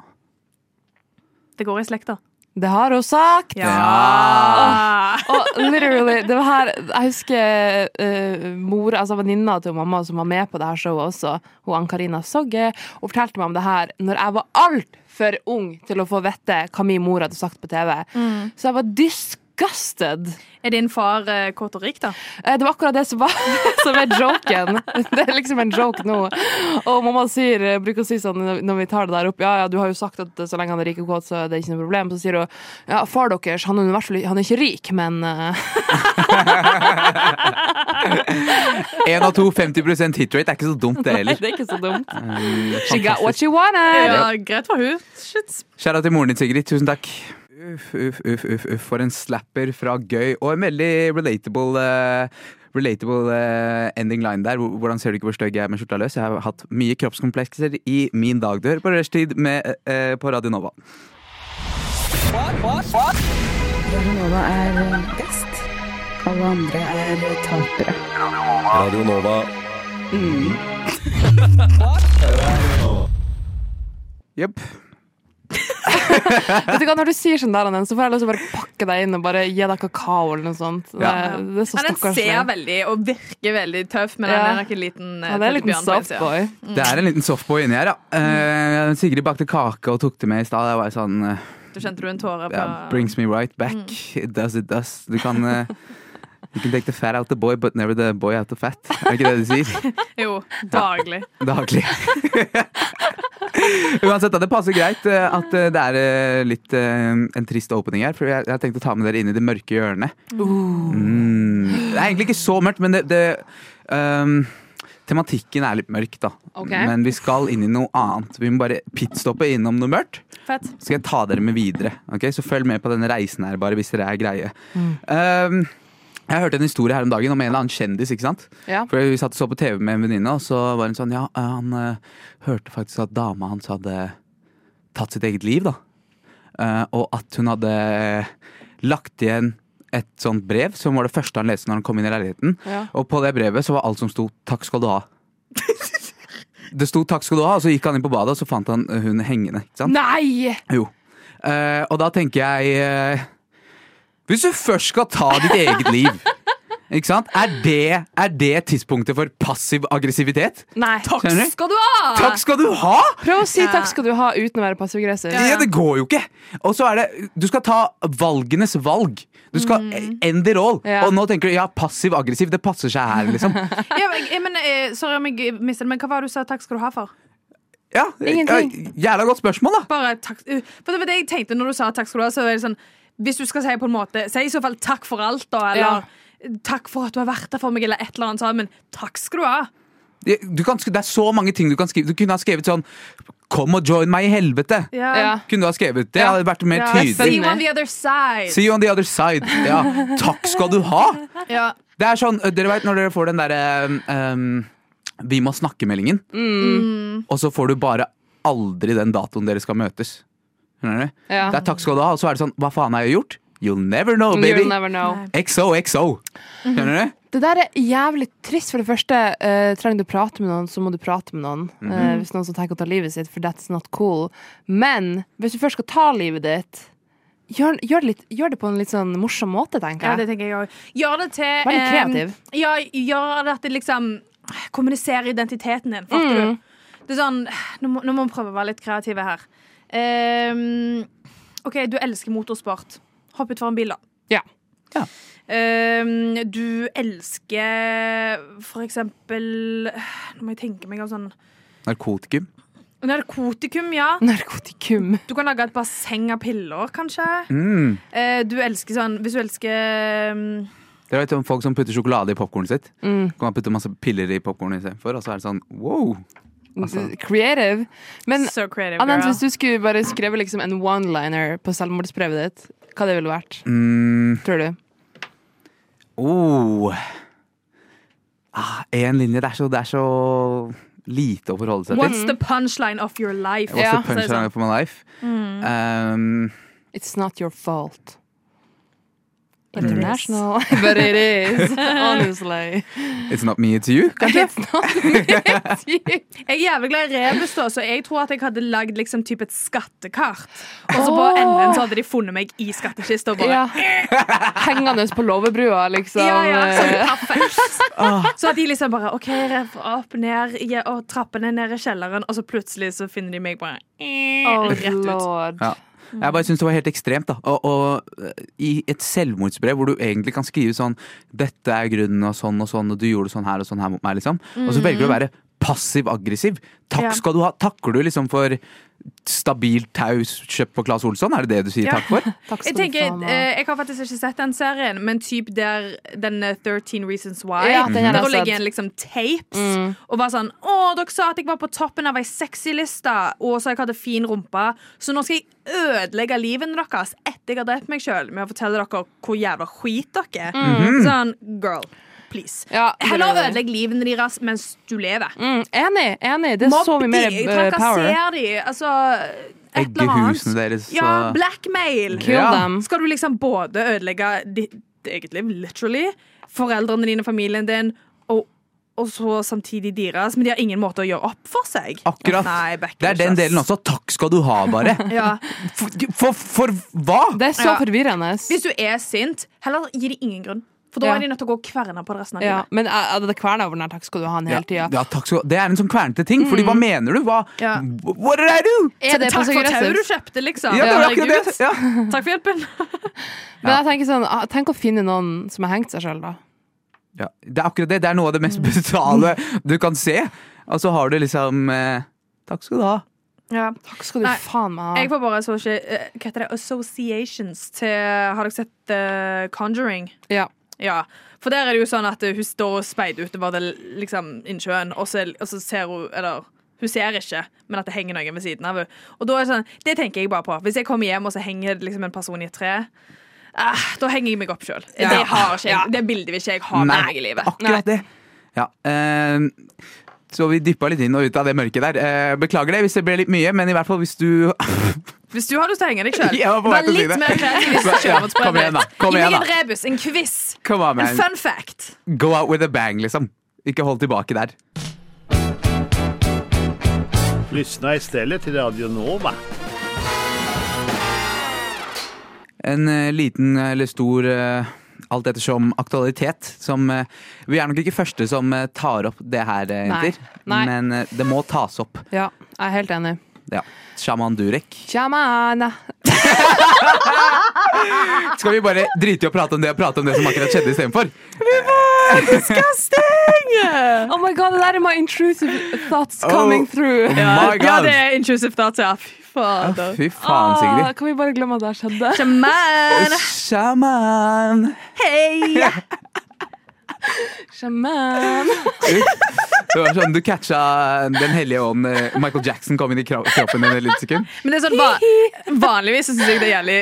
Speaker 4: Det går i slekta.
Speaker 6: Det har hun sagt! Ah.
Speaker 4: Ja.
Speaker 6: Og literally, det var her Jeg husker eh, mor, altså venninna til mamma som var med på det her showet også, hun Ann-Karina Sogge, hun fortalte meg om det her når jeg var altfor ung til å få vite hva min mor hadde sagt på TV. Så jeg var disgusted.
Speaker 4: Er din far eh, kåt og rik, da?
Speaker 6: Eh, Det var akkurat det som, var, som er joken. Det er liksom en joke nå. Og mamma sier, bruker å si sånn når- når vi tar det der opp Ja, ja, du har jo sagt at så lenge han er rik og kåt, så er det ikke noe problem. Så sier hun ja, far deres, han er, i hvert fall- han er ikke rik, men eh,
Speaker 3: Én av to 50 hit rate er ikke så dumt, det
Speaker 6: Nei,
Speaker 3: heller.
Speaker 6: det er ikke så dumt.
Speaker 3: Um,
Speaker 6: She got what
Speaker 3: fantastisk.
Speaker 6: she wanted.
Speaker 4: Ja, greit for hun. Shit.
Speaker 3: Kjære til moren din, Sigrid. Tusen takk. Uff, uff, uff, uff, uff. for en slapper fra Gøy. Og en veldig relatable, eh, relatable eh, ending line der. Hvor- Hvordan ser du ikke hvor stygg jeg er med skjorta løs? Jeg har hatt mye kroppskomplekser i min dag. Du hører på Rushtid med, eh, på Radio Nova.
Speaker 7: Radio Nova.
Speaker 3: Jepp.
Speaker 6: Vet du hva, Når du sier sånn der, Anne, så får jeg lyst til å bare pakke deg inn og bare gi deg kakao eller noe sånt. Det,
Speaker 3: Ja.
Speaker 6: det er så
Speaker 4: Ja, den ser
Speaker 6: stakkarslig.
Speaker 4: veldig og virker veldig tøff, men
Speaker 6: Ja.
Speaker 4: den er nok en liten eh,
Speaker 6: Ja, det er en liten
Speaker 4: teddybjørn på innsiden.
Speaker 6: softboy.
Speaker 3: Det er en liten softboy inni her, ja. Eh, Sigrid bakte kake og tok det med i stad. Jeg var sånn eh,
Speaker 4: Du kjente du en tåre på
Speaker 3: ja, Brings me right back. Does it does. Du kan eh, You can take the fat out the boy, but never the boy out the fat. Er ikke det de sier?
Speaker 4: Jo, daglig.
Speaker 3: Daglig. Uansett, da, det passer greit eh, at eh, det er eh, litt eh, en trist opening her, for jeg, jeg tenkte å ta med dere inn i det mørke hjørnet. Mm. Det er egentlig ikke så mørkt, men det, det ehm, Tematikken er litt mørk, da.
Speaker 6: Ok.
Speaker 3: Men vi skal inn i noe annet. Vi må bare pitstoppe innom noe mørkt.
Speaker 4: Fett.
Speaker 3: Så skal jeg ta dere med videre. ok? Så følg med på denne reisen her, bare hvis dere er greie. Ehm, jeg hørte en historie her om dagen om en eller annen kjendis. ikke sant?
Speaker 6: Ja.
Speaker 3: For Vi satt og så på TV med en venninne, og så var hun sånn Ja, eh, han eh, hørte faktisk at dama hans hadde tatt sitt eget liv, da. Eh, og at hun hadde lagt igjen et sånt brev, som var det første han leste når han kom inn i leiligheten.
Speaker 6: Ja.
Speaker 3: Og på det brevet så var alt som sto 'takk skal du ha'. Det sto 'takk skal du ha', og så gikk han inn på badet, og så fant han eh, hun hengende. ikke sant?
Speaker 6: Nei!
Speaker 3: Jo. Eh, og da tenker jeg eh, Hvis du først skal ta ditt eget liv Ikke sant? Er det, er det tidspunktet for passiv aggressivitet?
Speaker 6: Nei.
Speaker 3: Skjønner du?
Speaker 4: Skal du
Speaker 6: Ah.
Speaker 4: ha!
Speaker 3: Takk skal du ha!
Speaker 6: Prøv å si takk skal du ha uten å være passivgresser.
Speaker 3: Ja, det går jo ikke! Og så er det Du skal ta valgenes valg. Du skal end it all.
Speaker 6: Mm. Ja.
Speaker 3: Og nå tenker du ja, passiv aggressiv, det passer seg her, liksom.
Speaker 4: Ja, men, jeg, men, eh, sorry om jeg mistet det, men hva var det du sa takk skal du ha for?
Speaker 3: Ja,
Speaker 6: Ingenting.
Speaker 3: ja, Jævla godt spørsmål, da.
Speaker 4: Bare takk uh, For det var det jeg tenkte når du sa takk skal du ha, så er det sånn Hvis du skal si på en måte, si i så fall takk for alt, da, eller eh, Takk for at du har vært der for meg, eller et eller annet sånt, men takk skal du ha.
Speaker 3: Du kan, sk- det er så mange ting du kan skrive. Du kunne ha skrevet sånn Kom og join meg i helvete.
Speaker 6: Ja.
Speaker 3: Kunne du ha skrevet. Det hadde vært mer tydelig.
Speaker 4: See you on the other side.
Speaker 3: See you on the other side. Ja, takk skal du ha!
Speaker 4: Ja.
Speaker 3: Det er sånn, Dere vet når dere får den derre um, Vi må snakke-meldingen,
Speaker 6: Mm.
Speaker 3: og så får du bare aldri den datoen dere skal møtes. Skjønner du?
Speaker 6: Ja.
Speaker 3: Det er takk skal du ha, og så er det sånn Hva faen har jeg gjort? You'll never know, baby.
Speaker 6: You'll never know.
Speaker 3: XO, XO. Skjønner du?
Speaker 6: Det der er jævlig trist. For det første, eh, trenger du prate med noen, så må du prate med noen.
Speaker 3: Mhm.
Speaker 6: Eh, hvis noen som tenker å ta livet sitt, for that's not cool. Men hvis du først skal ta livet ditt, gjør, gjør, det, litt, gjør det på en litt sånn morsom måte,
Speaker 4: Ja,
Speaker 6: tenker jeg.
Speaker 4: det tenker jeg òg. Gjør det til
Speaker 6: Vær litt
Speaker 4: eh,
Speaker 6: kreativ.
Speaker 4: ja, gjør det at det liksom kommuniserer identiteten din, fatter
Speaker 6: Mm.
Speaker 4: du? Det er sånn nå må, nå må vi prøve å være litt kreative her. Ehm, OK, du elsker motorsport. Hopp ut foran bil, da.
Speaker 6: Ja.
Speaker 3: Ja.
Speaker 4: Ehm, du elsker for eksempel Nå må jeg tenke meg om sånn
Speaker 3: Narkotikum.
Speaker 4: Narkotikum, ja.
Speaker 6: Narkotikum.
Speaker 4: Du kan lage et basseng av piller, kanskje.
Speaker 3: Mm.
Speaker 4: Eh, du elsker sånn Hvis du elsker mm,
Speaker 3: Dere vet om folk som putter sjokolade i popkornet sitt?
Speaker 6: Mm.
Speaker 3: Kan man putte masse piller i popkornet istedenfor? Og så er det sånn wow! Altså.
Speaker 6: Creative. Men
Speaker 4: So creative,
Speaker 6: Anant,
Speaker 4: girl.
Speaker 6: hvis du skulle bare skrevet liksom en one-liner på selvmordsbrevet ditt, hva det ville vært,
Speaker 3: Mm.
Speaker 6: tror du?
Speaker 3: Oh. Ah, en linje. Det er, så, det er så lite å forholde seg til.
Speaker 4: What's the punchline of your life?
Speaker 3: What's
Speaker 6: Ja.
Speaker 3: the punchline
Speaker 4: sånn.
Speaker 3: for my life?
Speaker 4: Mm.
Speaker 3: Um,
Speaker 6: It's not your fault. International. But it is. Honestly.
Speaker 3: it's not me, it's you.
Speaker 6: It's not me.
Speaker 4: Jeg er jævlig glad i rebus, da, så jeg tror at jeg hadde lagd liksom, typ et skattekart. Og så på enden så hadde de funnet meg i skattkista. og Bare.
Speaker 6: Ja. Hengende på låvebrua, liksom.
Speaker 4: Ja, ja, sånn perfekt. Så at de liksom bare OK, rev opp ned i- og trappene ned i kjelleren, og så plutselig så finner de meg bare
Speaker 6: Oh,
Speaker 4: rett ut.
Speaker 6: lord.
Speaker 3: Ja. Jeg bare syns det var helt ekstremt. da og, og eh, I et selvmordsbrev hvor du egentlig kan skrive sånn 'Dette er grunnen', og sånn og sånn, og du gjorde sånn her og sånn her mot meg, liksom. Og så velger du å være passiv-aggressiv. Takk
Speaker 4: Mm. Ja.
Speaker 3: skal du ha. Takker du liksom for stabilt tau kjøpt på Claes Olsson? Er det det du sier
Speaker 4: Ja.
Speaker 3: takk for?
Speaker 6: Takk
Speaker 4: Jeg
Speaker 6: skal du
Speaker 4: tenker,
Speaker 6: faen ha.
Speaker 4: eh, jeg har faktisk ikke sett den serien, men typ der den eh, 13 Reasons Why.
Speaker 6: Ja, den har jeg
Speaker 4: der hun
Speaker 6: sett.
Speaker 4: legger igjen liksom tapes
Speaker 6: Mm.
Speaker 4: og bare sånn Å, dere sa at jeg var på toppen av ei sexy-liste, og så jeg hadde fin rumpe, så nå skal jeg ødelegge livet deres etter jeg har drept meg sjøl, med å fortelle dere hvor jævla skit dere er. Sånn, girl, please.
Speaker 6: Mm. Mhm. Ja, det
Speaker 4: Heller
Speaker 6: er det.
Speaker 4: ødelegg livet deres mens du lever.
Speaker 6: Mm, Enig, enig. Det er så mye mer
Speaker 4: de,
Speaker 6: eh, power.
Speaker 4: trakasser de, altså et eller annet.
Speaker 3: Eggehusene deres.
Speaker 4: Ja,
Speaker 3: og-
Speaker 4: blackmail.
Speaker 6: Kill
Speaker 3: Ja.
Speaker 6: them.
Speaker 4: Skal du liksom både ødelegge ditt eget liv, literally, foreldrene dine, familien din, og, og så samtidig deres, men de har ingen måte å gjøre opp for seg?
Speaker 3: Akkurat.
Speaker 4: Nei, back
Speaker 3: Det er den delen også. Takk skal du ha, bare.
Speaker 4: Ja.
Speaker 3: For, for, for hva?
Speaker 6: Det er så
Speaker 4: Ja.
Speaker 6: forvirrende.
Speaker 4: Hvis du er sint, heller gi dem ingen grunn. For da
Speaker 6: Ja.
Speaker 4: er de nødt til å gå og kverne på det resten av
Speaker 6: Ja,
Speaker 4: livet.
Speaker 6: men eh, det kverna over den her, takk skal du ha den hele tida.
Speaker 3: Ja, ja, takk skal, det er en sånn kvernete ting, fordi hva mener du? Hva,
Speaker 4: Mm. Ja.
Speaker 3: What did I do?
Speaker 6: Er det
Speaker 4: Takk for tauet du
Speaker 6: passiv-aggressivt?
Speaker 4: kjøpte, liksom.
Speaker 3: Ja, det var akkurat
Speaker 4: Herregud.
Speaker 3: det. Ja.
Speaker 4: Takk for hjelpen.
Speaker 6: Men jeg tenker sånn, ah, tenk å finne noen som har hengt seg sjøl, da.
Speaker 3: Ja, det er akkurat det. Det er noe av det mest
Speaker 4: Mm.
Speaker 3: brutale du kan se. Og så har du liksom eh, Takk skal du ha.
Speaker 6: Takk skal du
Speaker 4: Nei,
Speaker 6: faen meg ha.
Speaker 4: Jeg får bare associ eh, hva heter det? associations til Har dere sett eh, Conjuring?
Speaker 6: Ja.
Speaker 4: Ja, for der er det jo sånn at hun står og speider utover det, liksom, innsjøen, og så, og så ser hun Eller hun ser ikke, men at det henger noen ved siden av henne. Og da er det sånn, det tenker jeg bare på. Hvis jeg kommer hjem, og så henger det liksom en person i et tre, eh, da henger jeg meg opp sjøl. Det har ikke jeg, det bildet vil ikke jeg ha med meg i livet.
Speaker 3: Akkurat det. Ja, eh, så vi dyppa litt inn og ut av det mørket der. Eh, beklager det hvis det ble litt mye, men i hvert fall hvis du
Speaker 4: Hvis du har lyst til å henge deg sjøl,
Speaker 3: Jeg var på vei
Speaker 4: vær
Speaker 3: til å si
Speaker 4: litt
Speaker 3: det.
Speaker 4: mer kreativ. hvis du
Speaker 3: Ja,
Speaker 4: kjører mot
Speaker 3: kom igjen da,
Speaker 4: sprøytet.
Speaker 3: kom
Speaker 4: Gi
Speaker 3: igjen
Speaker 4: meg
Speaker 3: da.
Speaker 4: en rebus, en quiz,
Speaker 3: Come on,
Speaker 4: en
Speaker 3: man.
Speaker 4: fun fact.
Speaker 3: Go out with a bang, liksom. Ikke hold tilbake der.
Speaker 8: Lyssna istället till Radio Nova.
Speaker 3: En eh, liten eller stor eh, alt ettersom aktualitet som eh, Vi er nok ikke første som eh, tar opp det her, eh,
Speaker 6: Nei.
Speaker 3: jenter.
Speaker 6: Nei.
Speaker 3: Men eh, det må tas opp.
Speaker 6: Ja, jeg er helt enig.
Speaker 3: Ja. Shaman Durek.
Speaker 6: Tjamana.
Speaker 4: Ah.
Speaker 3: Skal vi bare drite i å prate om det og prate om det som akkurat skjedde istedenfor?
Speaker 6: Oh my god, det der er my intrusive thoughts
Speaker 3: Oh.
Speaker 6: coming through.
Speaker 3: My
Speaker 4: Ja,
Speaker 3: God.
Speaker 4: det er intrusive thoughts, ja. Fy fader.
Speaker 3: Fy faen, Sigrid.
Speaker 6: Ah, kan vi bare glemme at det skjedde?
Speaker 4: Shaman.
Speaker 3: Shaman.
Speaker 4: Hei!
Speaker 6: Sjaman.
Speaker 3: Det var sånn, Du catcha Den hellige ånd. eh, Michael Jackson kom inn i kro- kroppen din et lite sekund.
Speaker 4: Men det er sånn, va Vanligvis så syns jeg det er jævlig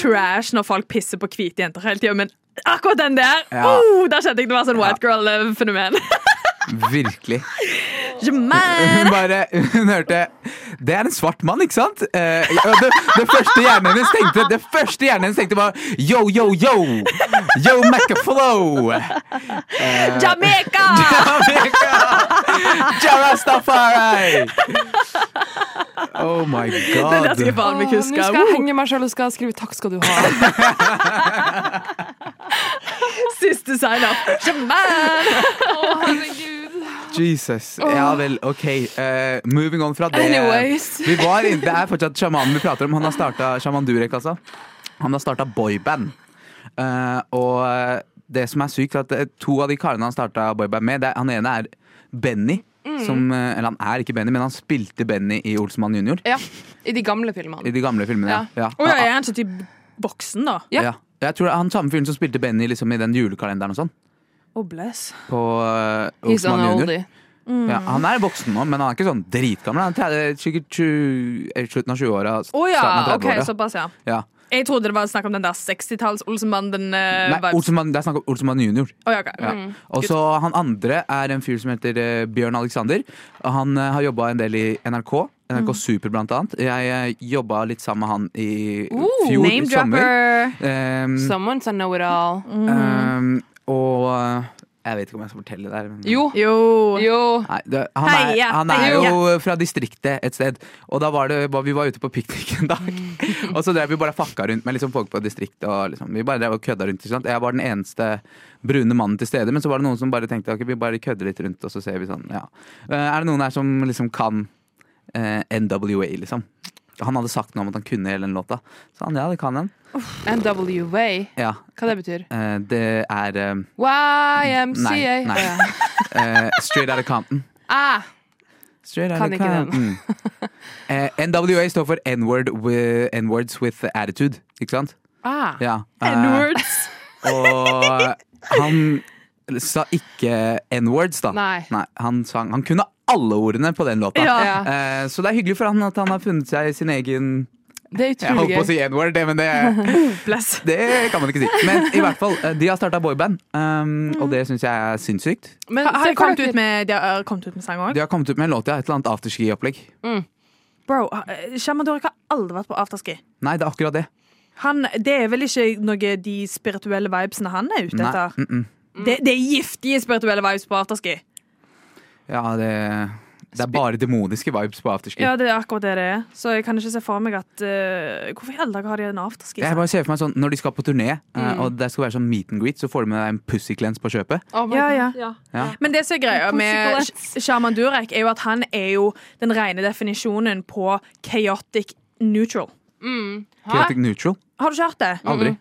Speaker 4: trash når folk pisser på hvite jenter hele tida, men akkurat den der
Speaker 3: Ja.
Speaker 4: oh, Der kjente jeg det var sånn white girl-fenomen.
Speaker 3: Virkelig.
Speaker 4: Jamaica.
Speaker 3: Hun bare hun hørte Det er en svart mann, ikke sant? Eh, og det, det første hjernen hennes tenkte Det første hjernen hennes tenkte var yo, yo, yo. Yo, Macaflow.
Speaker 4: Jamaica!
Speaker 3: Jarastafari. Oh my
Speaker 4: Det der skal jeg
Speaker 3: god.
Speaker 4: faen meg
Speaker 6: Nå
Speaker 4: huske.
Speaker 6: skal jeg henge meg sjøl og skal skrive 'takk skal du ha'.
Speaker 4: Oh, Siste sign-up. Jamaica.
Speaker 3: Jesus. Ja vel, OK. Eh, moving on fra det.
Speaker 6: Anyways.
Speaker 3: Vi var inn, det er fortsatt sjamanen vi prater om. Han har starta Sjaman Durek, altså. Han har starta boyband. Eh, og det som er sykt, er at eh, to av de karene han starta boyband med, det er, han ene er Benny. Som, eh, eller han er ikke Benny, men han spilte Benny i Olsemann junior.
Speaker 6: Ja, I de gamle
Speaker 3: I
Speaker 6: filmene.
Speaker 3: de gamle filmene. Ja.
Speaker 4: Å ja, er han ikke typ voksen, da?
Speaker 6: ja.
Speaker 3: Ja. Jeg tror det er han samme fyren som spilte Benny liksom, i den julekalenderen og sånn.
Speaker 4: Oh, bless.
Speaker 3: På uh,
Speaker 6: He's
Speaker 3: Olsemann
Speaker 6: on an
Speaker 3: junior.
Speaker 6: oldie.
Speaker 3: Ja,
Speaker 4: Mm.
Speaker 3: han er voksen nå, men han er ikke sånn dritgammel. Han er tre- sikkert 20, eh, slutten av 20-åra.
Speaker 4: Å ja,
Speaker 3: starten av
Speaker 4: OK,
Speaker 3: 30-åra.
Speaker 4: såpass, ja.
Speaker 3: Ja.
Speaker 4: Jeg trodde det var snakk om den der 60-talls-Olsenmann. Den uh,
Speaker 3: Nei, Olsenmann, det er snakk om Olsenmann junior.
Speaker 4: Oh, ja, ok.
Speaker 3: Ja. Og så han andre er en fyr som heter eh, Bjørn Alexander. Og han eh, har jobba en del i NRK. NRK
Speaker 4: Mm.
Speaker 3: Super, blant annet. Jeg uh, jobba litt sammen med han i fjor i
Speaker 4: Name
Speaker 3: sommer.
Speaker 4: dropper.
Speaker 3: Um,
Speaker 6: Mm. Someone's a know-it-all.
Speaker 3: um, og eh, jeg vet ikke om jeg skal fortelle det her. men-
Speaker 6: Jo.
Speaker 4: Jo.
Speaker 6: Jo.
Speaker 3: Nei, det, han, er,
Speaker 4: Heia,
Speaker 3: han er
Speaker 4: heia.
Speaker 3: jo fra distriktet et sted. Og da var det, var- vi var ute på piknik en dag. Og så drev vi bare fakka rundt med liksom folk på distriktet. Og liksom, vi bare drev og kødda rundt. ikke Sant? Jeg var den eneste brune mannen til stede. Men så var det noen som bare tenkte ok, vi bare kødder litt rundt, og så ser vi sånn, ja. Eh, Er det noen her som liksom kan eh, NWA, liksom? Han hadde sagt noe om at han kunne hele den låta. Så han ja, det kan han.
Speaker 6: NWA.
Speaker 3: Ja,
Speaker 6: Hva det betyr?
Speaker 3: eh, det er eh,
Speaker 6: YMCA.
Speaker 3: Nei, nei.
Speaker 6: Å, ja.
Speaker 3: eh, Straight Outta Compton.
Speaker 6: Ah,
Speaker 3: Straight
Speaker 6: Kan
Speaker 3: outta
Speaker 6: ikke den.
Speaker 3: Compton. Eh, NWA står for N-word with, N-words with attitude, ikke sant?
Speaker 6: ah.
Speaker 3: Ja.
Speaker 4: Eh,
Speaker 3: N-words. og han sa ikke N-words, da.
Speaker 6: Nei.
Speaker 3: han, sang, han kunne alle ordene på den låta.
Speaker 6: Ja.
Speaker 3: Eh, så det er hyggelig for han at han har funnet seg sin egen
Speaker 6: Det er
Speaker 3: Jeg holdt på å
Speaker 6: utrolig gøy.
Speaker 3: si N-word, det, men det,
Speaker 4: Bless.
Speaker 3: det kan man ikke si. Men i hvert fall, eh, de har starta boyband, um,
Speaker 6: Mm.
Speaker 3: og det syns jeg er sinnssykt.
Speaker 6: Men
Speaker 4: Har
Speaker 6: se
Speaker 4: de
Speaker 6: for
Speaker 4: kommet ut
Speaker 6: dere-
Speaker 4: med, de har eh, kommet ut med sang òg?
Speaker 3: De har kommet ut med en låt, ja. Et eller annet afterski-opplegg.
Speaker 4: Bro, Shamadorek har aldri vært på afterski.
Speaker 3: Nei, det er akkurat det.
Speaker 4: Han, det er vel ikke noe de spirituelle vibesene han er ute
Speaker 3: Nei, Mm.
Speaker 4: etter? Det, det er giftige spirituelle vibes på afterski.
Speaker 3: Ja, det Det er bare demoniske vibes på afterski.
Speaker 4: Ja, det er akkurat det det er. Så jeg kan ikke se for meg at eh, Hvorfor i alle dager har de en afterski?
Speaker 3: Jeg bare ser for meg sånn, Når de skal på turné, eh, og det skal være sånn meet and greet, så får du med deg en pussyclens på kjøpet.
Speaker 6: Oh my
Speaker 4: Ja,
Speaker 6: God.
Speaker 4: ja.
Speaker 3: Ja.
Speaker 4: Men det som er greia med Sh- Shaman Durek, er jo at han er jo den rene definisjonen på chaotic neutral.
Speaker 3: Chaotic neutral.
Speaker 4: Har du ikke hørt det?
Speaker 3: Aldri.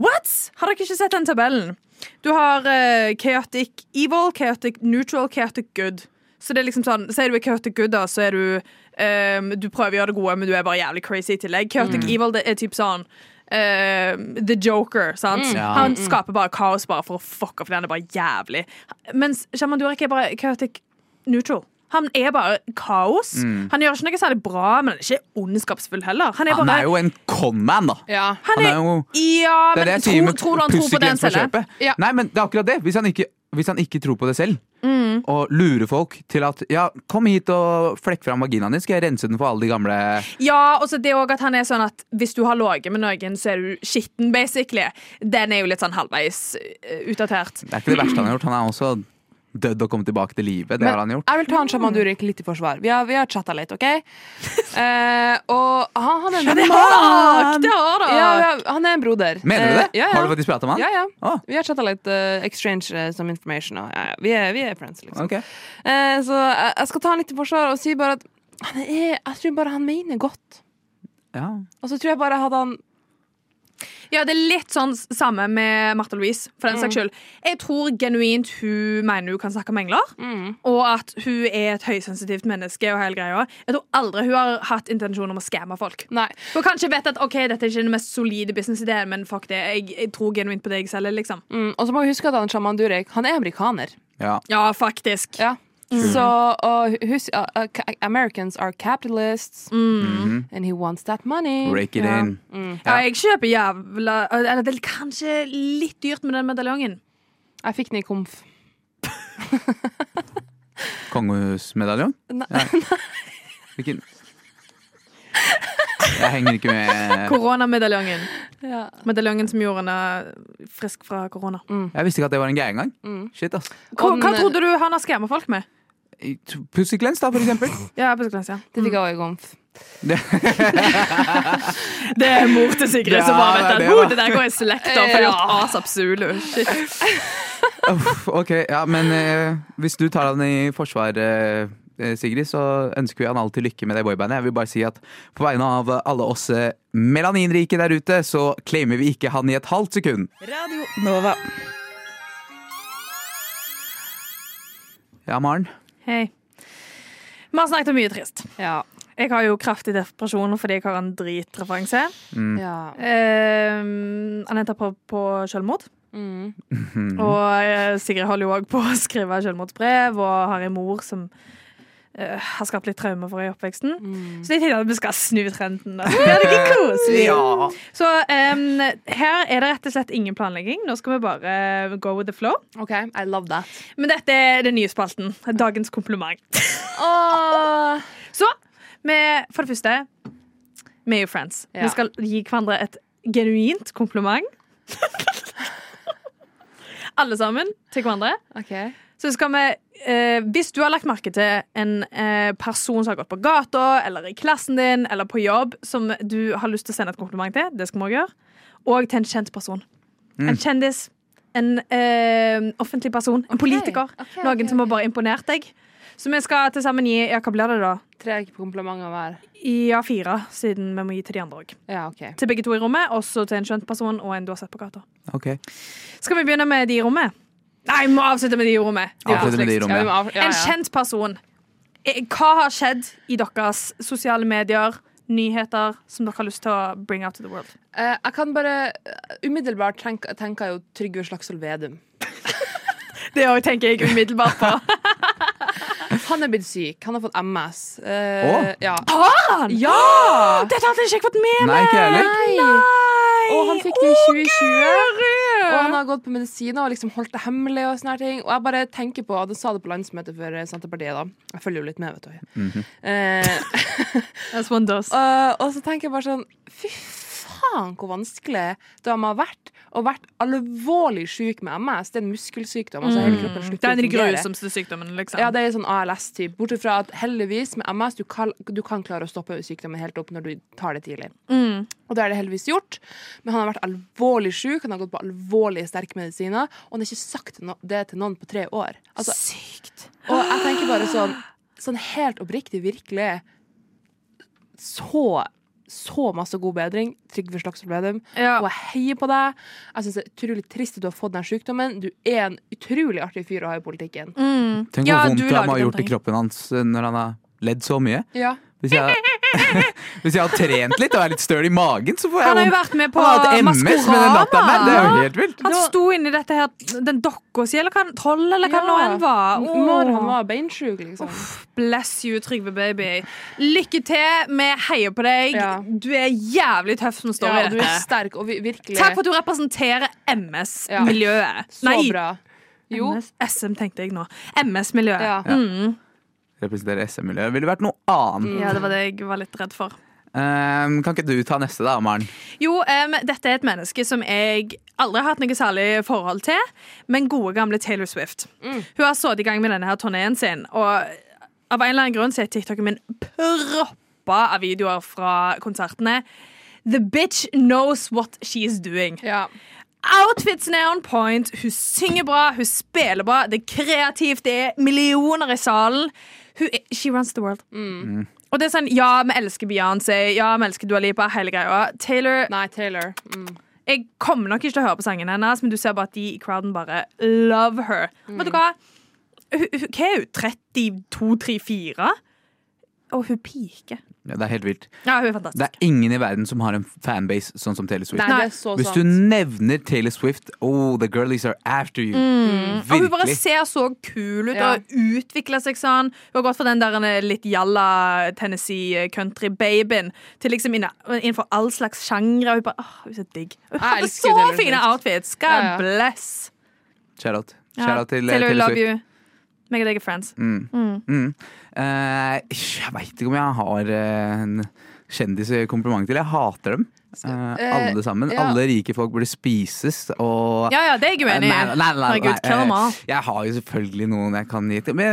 Speaker 4: What?! Har dere ikke sett den tabellen? Du har eh, chaotic evil, chaotic neutral, chaotic good. Så det er liksom sånn, Sier du er chaotic good, da, så er du ehm, Du prøver å gjøre det gode, men du er bare jævlig crazy i tillegg. Chaotic
Speaker 3: Mm.
Speaker 4: evil det er typ sånn ehm, The Joker, sant?
Speaker 3: Mm. Ja.
Speaker 4: Han skaper bare kaos bare for å fucke opp, for han er bare jævlig. Mens Shaman Durek er bare chaotic neutral. Han er bare kaos. Han gjør ikke noe særlig bra, men han er ikke ondskapsfull heller. Han er
Speaker 3: Mm. Han
Speaker 4: bare
Speaker 3: er jo en conman, da.
Speaker 6: Ja.
Speaker 4: han er,
Speaker 3: Han er jo-
Speaker 4: Ja,
Speaker 3: Det
Speaker 4: men
Speaker 3: er det jeg sier
Speaker 4: tror,
Speaker 3: med
Speaker 4: tror du han tror på den
Speaker 3: pussyclens på
Speaker 4: selv?
Speaker 3: kjøpet.
Speaker 6: Ja.
Speaker 3: Nei, men det er akkurat det. Hvis han ikke, hvis han ikke tror på det selv, og lurer folk til at ja, kom hit og flekk fram vaginaen din, skal jeg rense den for alle de gamle
Speaker 4: Ja, og så det også at han er sånn at hvis du har ligget med noen, så er du skitten, basically. Den er jo litt sånn halvveis eh, utdatert.
Speaker 3: Det er ikke det verste han har gjort. Han er også dødd og kommet tilbake til live. Det
Speaker 6: Men
Speaker 3: har han gjort.
Speaker 6: Jeg vil ta han Shaman Durek litt i forsvar. Vi har, vi har chatta litt, OK? Eh, og han, han er en
Speaker 4: Fuck, det har
Speaker 6: Ja, ja, han er en broder.
Speaker 3: Mener du det?
Speaker 6: Eh, ja, ja.
Speaker 3: Har du faktisk prata med han?
Speaker 6: Ja, ja.
Speaker 3: Å,
Speaker 6: Vi har chatta litt, eh, exchange eh, some information. Og, ja, ja. Vi, er, vi er friends, liksom.
Speaker 3: ok.
Speaker 6: Eh, så jeg, jeg skal ta han litt i forsvar og si bare at han er, jeg tror bare han mener godt.
Speaker 3: Ja.
Speaker 6: Og så tror jeg bare hadde han
Speaker 4: Ja, det er litt sånn s- samme med Martha Louise, for den saks
Speaker 6: Mm.
Speaker 4: skyld. Jeg tror genuint hun mener hun kan snakke om engler,
Speaker 6: Mm.
Speaker 4: og at hun er et høysensitivt menneske og hele greia. Jeg tror aldri hun har hatt intensjon om å skamme folk.
Speaker 6: Nei.
Speaker 4: Hun kanskje vet at ok, dette er ikke den mest solide businessideen, men fuck det, jeg, jeg tror genuint på det jeg selger, liksom.
Speaker 6: Mm, og så må vi huske at han Shaman Durek han er amerikaner.
Speaker 3: ja.
Speaker 4: Ja, faktisk.
Speaker 6: Ja. Så og husk uh, uh, ca- Americans are capitalists,
Speaker 3: Mm-hmm.
Speaker 6: and he wants that money.
Speaker 3: Rake it in.
Speaker 4: Ja, jeg kjøper jævla Eller det er kanskje litt dyrt med den medaljongen.
Speaker 6: Jeg fikk den i komf.
Speaker 3: Kongehusmedaljong?
Speaker 6: Nei.
Speaker 3: Hvilken Jeg henger ikke med.
Speaker 4: Koronamedaljongen.
Speaker 6: Ja.
Speaker 4: Medaljongen som gjorde henne frisk fra korona.
Speaker 3: Jeg visste ikke at det var en greie engang. Shit, ass.
Speaker 4: Hva,
Speaker 6: Og
Speaker 4: hva
Speaker 6: den-
Speaker 4: trodde du han har skremmet folk med?
Speaker 3: Pussyclens, da, for eksempel.
Speaker 4: Ja, på Syklands, ja.
Speaker 6: Det fikk jeg også i komf.
Speaker 4: Det er mor til Sigrid
Speaker 3: Ja, som bare vet det er at, det, «Ho, da.» det
Speaker 4: der går i slekta,
Speaker 6: for jeg har gjort
Speaker 4: asap zulu.
Speaker 3: Uff, ok, ja, men eh, hvis du tar han i forsvar, eh, eh, Sigrid, så ønsker vi han alltid lykke med det boybandet. Jeg vil bare si at på vegne av alle oss eh, melaninrike der ute, så claimer vi ikke han i et halvt sekund. Ja, Maren.
Speaker 4: Hei. Vi har snakket om mye trist.
Speaker 6: Ja.
Speaker 4: Jeg har jo kraftig depresjon fordi jeg har en dritreferanse.
Speaker 3: Mm.
Speaker 6: ja.
Speaker 4: Eh, Anette på, på selvmord.
Speaker 6: Mm.
Speaker 4: Og eh, Sigrid holder jo òg på å skrive selvmordsbrev, og har en mor som eh, har skapt litt traume for i oppveksten. Så jeg tenkte at vi skal snu trenden. Da. Det er ikke koselig. Så em, her er det rett og slett ingen planlegging. Nå skal vi bare eh, go with the flow.
Speaker 6: OK, I love that.
Speaker 4: Men dette er den nye spalten. Dagens kompliment.
Speaker 6: Åh.
Speaker 4: Så vi, for det første, vi er jo friends.
Speaker 6: Ja.
Speaker 4: Vi skal gi hverandre et genuint kompliment. Alle sammen til hverandre.
Speaker 6: OK.
Speaker 4: Så skal vi, eh, hvis du har lagt merke til en eh, person som har gått på gata, eller i klassen din, eller på jobb, som du har lyst til å sende et kompliment til, det skal vi også gjøre, og til en kjent person.
Speaker 6: Mm.
Speaker 4: En kjendis, en eh, offentlig person, en politiker,
Speaker 6: ok,
Speaker 4: noen
Speaker 6: ok,
Speaker 4: som har bare imponert deg. Så vi skal til sammen gi, ja, hva blir det da?
Speaker 6: Tre komplimenter hver.
Speaker 4: Ja, fire, siden vi må gi til de andre også.
Speaker 6: Ja, OK.
Speaker 4: Til begge to i rommet, også til en kjent person, og en du har sett på gata.
Speaker 3: Ok.
Speaker 4: Skal vi begynne med de i rommet? Nei, vi må avslutte med de i rommet. Det er jo
Speaker 3: Avslutte med de i
Speaker 4: koseligst.
Speaker 3: rommet.
Speaker 6: vi må av- ja,
Speaker 4: En
Speaker 6: ja.
Speaker 4: kjent person. Eh, Hva har skjedd i deres sosiale medier, nyheter, som dere har lyst til å bring out to the world?
Speaker 6: Eh, jeg kan bare eh, umiddelbart tenke, tenker jeg jo Trygve Slagsvold Vedum.
Speaker 4: Det tenker jeg umiddelbart på.
Speaker 6: Han er blitt syk. Han har fått MS. Uh,
Speaker 3: Åh.
Speaker 6: Ja.
Speaker 4: Faen!
Speaker 6: ja!
Speaker 4: Dette hadde jeg ikke fått med
Speaker 3: Nei, ikke jeg heller.
Speaker 6: Nei! Og han fikk det i 2020. Og han har gått på medisiner og liksom holdt det hemmelig. Og sånne her ting Og jeg bare tenker på Han sa det på landsmøtet for eh, Senterpartiet. da Jeg følger jo litt med, vet
Speaker 4: Mhm.
Speaker 6: du. Eh,
Speaker 4: As one does.
Speaker 6: og, og så tenker jeg bare sånn Fy faen, faen hvor vanskelig det har vært å vært alvorlig syk med MS. Det er en muskelsykdom. Altså, hele kroppen
Speaker 4: Mm. Det
Speaker 6: slutter
Speaker 4: er
Speaker 6: å
Speaker 4: den
Speaker 6: fungere.
Speaker 4: grusomste sykdommen, liksom.
Speaker 6: Ja, det er sånn ALS-typ. Bortsett fra at heldigvis med MS du kan, du kan klare å stoppe sykdommen helt opp når du tar det tidlig.
Speaker 4: Mm.
Speaker 6: Og det er det heldigvis gjort. Men han har vært alvorlig syk, han har gått på alvorlige sterke medisiner, og han har ikke sagt no- det til noen på tre år. Altså,
Speaker 4: Sykt.
Speaker 6: og jeg tenker bare sånn, sånn helt oppriktig, virkelig Så så masse god bedring. Trygve Slagsvold Vedum.
Speaker 4: Ja.
Speaker 6: Og jeg heier på deg. Jeg syns det er utrolig trist at du har fått den sykdommen. Du er en utrolig artig fyr å ha i politikken.
Speaker 4: Mm.
Speaker 3: Tenk
Speaker 4: Ja,
Speaker 3: hvor vondt
Speaker 4: du
Speaker 3: det må
Speaker 4: laget
Speaker 3: ha
Speaker 4: den
Speaker 3: gjort i
Speaker 4: tanken.
Speaker 3: kroppen hans eh, når han har ledd så mye.
Speaker 6: Ja.
Speaker 3: Hvis jeg, hvis jeg har trent litt og er litt støl i magen, så får jeg
Speaker 4: Han har jo
Speaker 3: vondt.
Speaker 4: vært med på
Speaker 3: Han har hatt MS med den latteren der. Det er jo
Speaker 4: Maskorama.
Speaker 3: helt vilt.
Speaker 4: Han sto inni dette her, den dokka si, eller hva han- troll, eller hva
Speaker 6: Ja.
Speaker 4: nå enn var. Åh.
Speaker 6: Når han var beinsjuk, liksom.
Speaker 4: Bless you, Trygve baby. Lykke til, vi heier på deg.
Speaker 6: Ja.
Speaker 4: Du er jævlig tøff som står
Speaker 6: ja,
Speaker 4: i
Speaker 6: du er
Speaker 4: dette.
Speaker 6: sterk og vi, virkelig
Speaker 4: Takk for at du representerer MS-miljøet.
Speaker 6: så bra. Jo.
Speaker 4: MS, SM tenkte jeg nå. MS-miljøet.
Speaker 6: Ja.
Speaker 4: Mm.
Speaker 3: Representerer SM-miljøet. Ville vært noe annet.
Speaker 4: ja, det var det jeg var litt redd for.
Speaker 3: Eh, kan ikke du ta neste, da, Maren?
Speaker 4: Jo, em, dette er et menneske som jeg aldri har hatt noe særlig forhold til, men gode gamle Taylor Swift. Hun har stått i gang med denne her turneen sin, og av en eller annen grunn så er TikToken min proppa av videoer fra konsertene. The bitch knows what she's doing.
Speaker 6: Ja.
Speaker 4: Outfitsen er on point. Hun synger bra, hun spiller bra, det er kreativt, det er millioner i salen. Hun er, she runs the world. Og det er sånn, Ja, vi elsker Beyoncé, ja, vi elsker Dua Lipa, hele greia. Taylor
Speaker 6: Nei, Taylor. Mm.
Speaker 4: Jeg kommer nok ikke til å høre på sangene hennes, men du ser bare at de i crowden bare love her. Vet du hva? Hun, hun, hva er hun? 32, 34? Og hun piker.
Speaker 3: Ja, det er helt vilt.
Speaker 4: Ja, hun er
Speaker 3: Det
Speaker 4: fantastisk.
Speaker 3: er ingen i verden som har en fanbase sånn som Taylor Swift.
Speaker 6: Nei, det er så
Speaker 3: Hvis du
Speaker 6: sant.
Speaker 3: nevner Taylor Swift Oh, the girlies are after you.
Speaker 4: Mm. Og hun bare
Speaker 3: Virkelig.
Speaker 4: ser så kul ut
Speaker 6: Ja.
Speaker 4: og utvikler seg sånn. Hun har gått fra den der eh, litt jalla Tennessee country-babyen til liksom inna- innenfor all slags sjangre. Og hun bare, åh, hun er så digg. Hun
Speaker 6: Jeg
Speaker 4: hadde
Speaker 6: elsker
Speaker 4: så
Speaker 6: Taylor
Speaker 4: fine
Speaker 6: Swift.
Speaker 4: outfits. God
Speaker 6: Ja, ja.
Speaker 4: bless.
Speaker 3: Shout-out
Speaker 4: Ja.
Speaker 3: Shout-out til eh,
Speaker 4: Taylor, we
Speaker 3: Taylor
Speaker 4: love
Speaker 3: Swift.
Speaker 4: you. Meg og deg er friends.
Speaker 3: Mm. Eh, jeg veit ikke om jeg har eh, en kjendiskompliment til. Jeg hater dem. Eh,
Speaker 6: eh,
Speaker 3: alle sammen.
Speaker 6: ja.
Speaker 3: Alle rike folk burde spises og
Speaker 4: Ja, ja, det er jeg uenig i.
Speaker 3: Nei, nei, nei, nei,
Speaker 4: Herregud,
Speaker 3: nei,
Speaker 4: kill 'em
Speaker 3: eh,
Speaker 4: all.
Speaker 3: Jeg har jo selvfølgelig noen jeg kan gi til. Men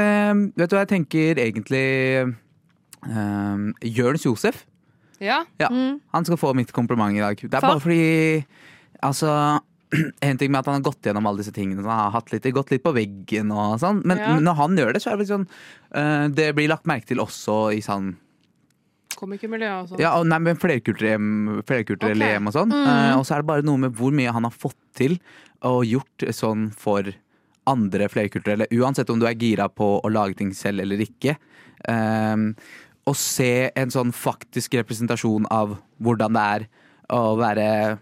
Speaker 3: eh, vet du hva jeg tenker egentlig eh, Jørns Josef.
Speaker 6: Ja.
Speaker 3: Ja, Han skal få mitt kompliment i dag. Det er
Speaker 4: For?
Speaker 3: bare fordi Altså en ting med at han har gått gjennom alle disse tingene. så Han har hatt litt, gått litt på veggen og sånn. Men
Speaker 6: Ja.
Speaker 3: når han gjør det, så er det litt sånn eh, Det blir lagt merke til også i sånn
Speaker 6: Komikermiljø og sånn.
Speaker 3: ja, og nei, men flerkulturelle flerkulturelle
Speaker 6: Ok.
Speaker 3: hjem og sånn.
Speaker 4: Mm.
Speaker 3: Eh, og så er det bare noe med hvor mye han har fått til og gjort sånn for andre flerkulturelle. Uansett om du er gira på å lage ting selv eller ikke. Eh, å se en sånn faktisk representasjon av hvordan det er å være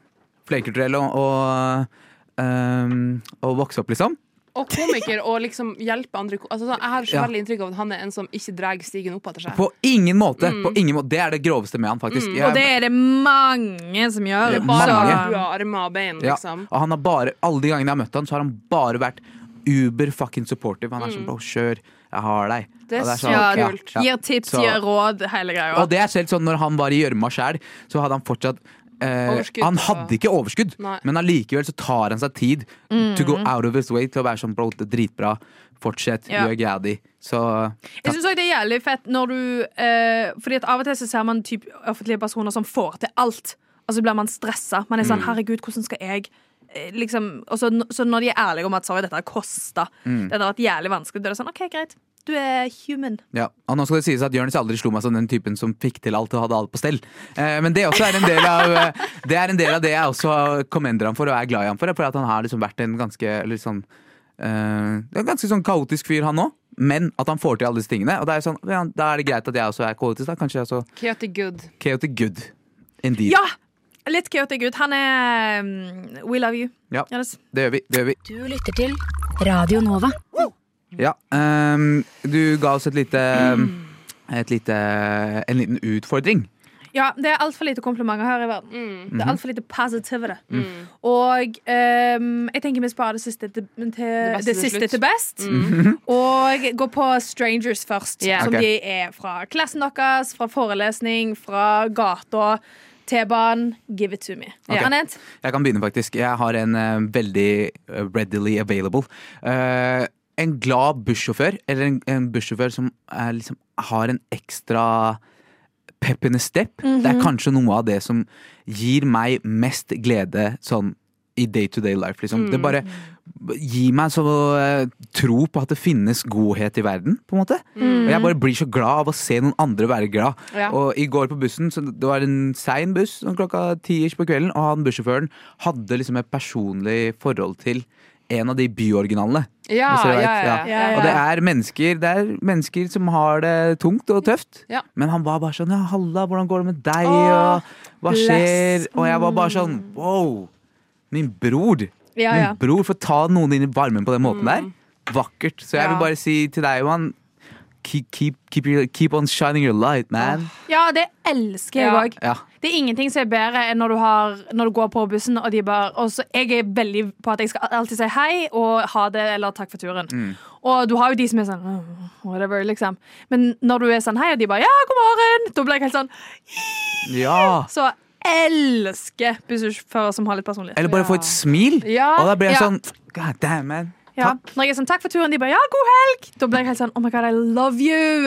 Speaker 3: flerkulturell og, og eh, å vokse opp, liksom.
Speaker 6: Og komiker og liksom hjelpe andre ko- altså, sånn, Jeg har så
Speaker 3: Ja.
Speaker 6: veldig inntrykk av at han er en som ikke drar stigen opp etter seg.
Speaker 3: På ingen måte! På ingen måte. Det er det groveste med han, faktisk. Jeg-
Speaker 4: Mm. Og det er det mange som gjør.
Speaker 3: Det er
Speaker 6: Bare
Speaker 3: mange.
Speaker 6: har du armer og bein,
Speaker 3: Ja,
Speaker 6: liksom.
Speaker 3: og han har bare, alle de gangene jeg har møtt han, så har han bare vært uber fucking supportive. Han er sånn bro, kjør, jeg har deg.
Speaker 6: Mm. Det er
Speaker 3: Og
Speaker 6: så
Speaker 3: sånn, ja,
Speaker 6: kult.
Speaker 3: ja.
Speaker 4: Gir tips,
Speaker 3: Så-
Speaker 4: gir råd, hele greia.
Speaker 3: Og det er selv sånn når han var i gjørma sjæl, så hadde han fortsatt eh,
Speaker 6: Overskudd,
Speaker 3: han
Speaker 6: så-
Speaker 3: hadde ikke overskudd,
Speaker 6: Nei. Mm.
Speaker 3: men allikevel så tar han seg tid to go out of his way til å være sånn bro, det er dritbra, fortsett,
Speaker 4: Ja.
Speaker 3: gjør greia di. Så
Speaker 4: Jeg synes også det er jævlig fett når du eh, Fordi at av og til så ser man typ offentlige personer som får til alt, og så blir man stressa. Man er sånn
Speaker 3: Mm.
Speaker 4: 'herregud, hvordan skal jeg' eh, Liksom, og så, så når de er ærlige om at 'sorry, dette har kosta',
Speaker 3: Mm.
Speaker 4: dette har vært jævlig vanskelig, da er det sånn 'OK, greit, du er human'.
Speaker 3: ja. Og nå skal det sies at Jonis aldri slo meg som den typen som fikk til alt og hadde alt på stell. Eh, men det også er en del av eh, Det er en del av det jeg også commender ham for og er glad i ham for. For at han har liksom vært en ganske eller sånn, eh, det er en ganske sånn kaotisk fyr, han òg. Men at han får til alle disse tingene. Og det er jo sånn, ja, Da er det greit at jeg også er kaotisk. da Kanskje jeg er så
Speaker 6: Katie Good.
Speaker 3: chaotic good. Indeed.
Speaker 4: Ja! Litt chaotic ut. Han er mm, We love you.
Speaker 3: Ja.
Speaker 4: Jonas.
Speaker 3: Det gjør vi. det gjør vi
Speaker 5: Du lytter til Radio Nova.
Speaker 3: Ja, ehm, Du ga oss et lite, et lite en liten utfordring.
Speaker 4: Ja, det er altfor lite komplimenter her i verden.
Speaker 6: Mm.
Speaker 4: Det er altfor lite positivity. Og ehm, jeg tenker vi sparer det siste til til- det,
Speaker 6: beste til
Speaker 4: siste
Speaker 6: slutt. Mm.
Speaker 4: til best. Og gå på Strangers først,
Speaker 6: Ja.
Speaker 4: som
Speaker 3: Ok.
Speaker 4: de er fra klassen deres, fra forelesning, fra gata.
Speaker 9: T-banen, give it to me.
Speaker 3: Ok.
Speaker 9: Anette?
Speaker 3: Jeg kan begynne, faktisk. Jeg har en eh, veldig eh, readily available. Eh, en glad bussjåfør, eller en, en bussjåfør som er, liksom, har en ekstra pep in a step. Det er kanskje noe av det som gir meg mest glede sånn i day to day life, liksom. Det bare gir meg så eh, tro på at det finnes godhet i verden, på en måte. Og jeg bare blir så glad av å se noen andre være glad.
Speaker 6: Ja.
Speaker 3: Og i går på bussen, så det var en sein buss sånn klokka ti-ish på kvelden, og han bussjåføren hadde liksom et personlig forhold til en av de byoriginalene.
Speaker 6: Ja,
Speaker 3: Hvis dere
Speaker 6: ja,
Speaker 3: vet,
Speaker 6: ja,
Speaker 3: ja.
Speaker 6: ja.
Speaker 3: Og det er mennesker Det er mennesker som har det tungt og tøft.
Speaker 6: Ja.
Speaker 3: Men han var bare sånn Ja, halla, hvordan går det med
Speaker 9: Åh,
Speaker 3: deg? og hva skjer?
Speaker 9: bless.
Speaker 3: Og jeg var bare sånn Wow! Min bror.
Speaker 9: Ja,
Speaker 3: min
Speaker 9: ja.
Speaker 3: bror. For ta noen inn i varmen på den måten der. Vakkert. Så jeg
Speaker 6: Ja.
Speaker 3: vil bare si til deg, Johan Keep, keep, keep, your, keep on shining your light, man.
Speaker 4: Ja, det elsker jeg
Speaker 9: Ja.
Speaker 4: òg.
Speaker 3: Ja.
Speaker 4: Det er ingenting som er bedre enn når du, har, når du går på bussen, og de bare og så, Jeg er veldig på at jeg skal alltid si hei og ha det, eller takk for turen.
Speaker 3: Mm.
Speaker 4: Og du har jo de som er sånn «Åh, whatever, liksom. Men når du er sånn hei, og de bare ja, god morgen, da blir jeg helt sånn
Speaker 3: ja.
Speaker 4: Så elsker bussjåfører som har litt personlighet.
Speaker 3: Eller bare få et smil.
Speaker 6: Ja.
Speaker 3: Og da blir jeg
Speaker 4: Ja.
Speaker 3: sånn God damn, man.
Speaker 4: Ja.
Speaker 3: Takk.
Speaker 4: Når jeg er sånn takk for turen, de bare ja, god helg, da blir jeg helt sånn oh my god, I love you.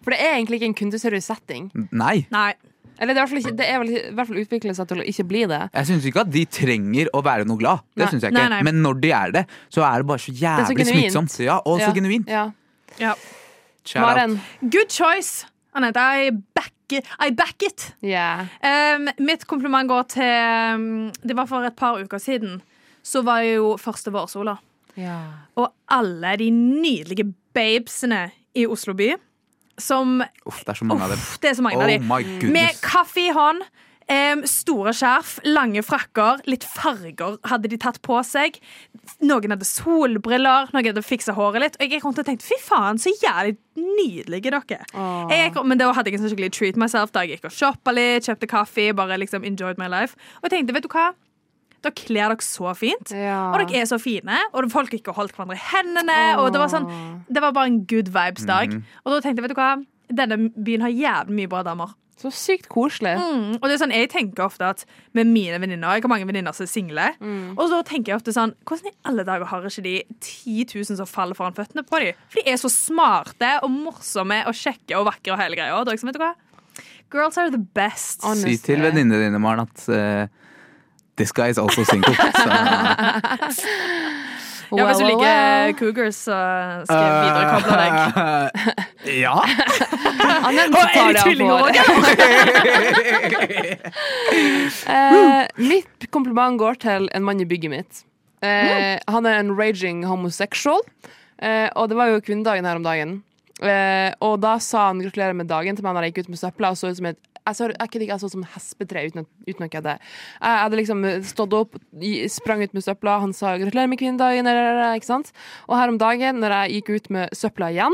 Speaker 6: For det er egentlig ikke en kundeseriøs setting.
Speaker 3: Nei.
Speaker 4: Nei.
Speaker 6: Eller det er, i hvert fall ikke, det er vel, i hvert fall utviklet seg til å ikke bli det.
Speaker 3: Jeg syns ikke at de trenger å være noe glad. Det
Speaker 6: Nei.
Speaker 3: synes jeg ikke
Speaker 4: Nei, nei.
Speaker 3: Men når de er det, så er det bare så
Speaker 6: er så
Speaker 3: jævlig
Speaker 6: genuint.
Speaker 3: smittsomt. Ja, og så
Speaker 6: Ja.
Speaker 3: genuint.
Speaker 6: Ja.
Speaker 3: Shout out.
Speaker 6: Maren.
Speaker 4: Good choice, Anette. I back it. I back it.
Speaker 6: Yeah.
Speaker 4: Um, mitt kompliment går til um, Det var for et par uker siden. Så var jo første vårsola. Og alle de nydelige babesene i Oslo by. Som
Speaker 3: Uff, det er så mange av dem.
Speaker 4: Uff, det er så mange
Speaker 3: Oh
Speaker 4: av de.
Speaker 3: my
Speaker 4: Med
Speaker 3: goodness.
Speaker 4: kaffe i hånd, em, store skjerf, lange frakker, litt farger hadde de tatt på seg. Noen hadde solbriller, noen hadde fiksa håret litt. Og jeg gikk rundt og tenkte fy faen, så jævlig nydelige dere
Speaker 6: Åh.
Speaker 4: jeg gikk, Men da hadde jeg en sånn skikkelig treat myself. Da jeg gikk og shoppa litt, kjøpte kaffe, bare liksom enjoyed my life. Og jeg tenkte, vet du hva? Dere kler dere så fint.
Speaker 6: Ja.
Speaker 4: Og dere er så fine, og folk har ikke holdt hverandre i hendene. Og det var, sånn, det var bare en good vibes-dag. Og da tenkte jeg, vet du hva, denne byen har jævlig mye bra damer.
Speaker 6: Så sykt koselig.
Speaker 4: Mm, og det er sånn, Jeg tenker ofte at med mine venninner og Jeg har mange venninner som er single.
Speaker 6: Mm.
Speaker 4: Og da tenker jeg ofte sånn Hvordan i alle dager har ikke de 10 000 som faller foran føttene på dem? For de er så smarte og morsomme og kjekke og vakre og hele greia. Og da er jeg sånn, vet du hva? Girls are the best.
Speaker 3: Si
Speaker 6: Honestly.
Speaker 3: til venninnene dine, Maren, at eh, this guy is also single. Så,
Speaker 4: ja, Hvis du
Speaker 6: Well, well,
Speaker 4: liker
Speaker 6: well.
Speaker 4: cougars, så skal jeg viderekoble deg.
Speaker 3: ja.
Speaker 6: Anette
Speaker 4: Og er de
Speaker 6: tar det han
Speaker 4: tvillinger
Speaker 6: får.
Speaker 4: også, eller?
Speaker 6: Eh, mitt kompliment går til en mann i bygget mitt. Eh, Han er en raging homosexual, eh, og det var jo kvinnedagen her om dagen. Eh, og da sa han gratulerer med dagen til meg når jeg gikk ut med søpla og så ut som et jeg, så, jeg, kødder ikke, jeg så ut som et hespetre uten, å- uten å kødde. Jeg hadde liksom stått opp, i- sprang ut med søpla, han sa 'gratulerer med kvinnedagen', eller, ikke sant? Og her om dagen, når jeg gikk ut med søpla igjen,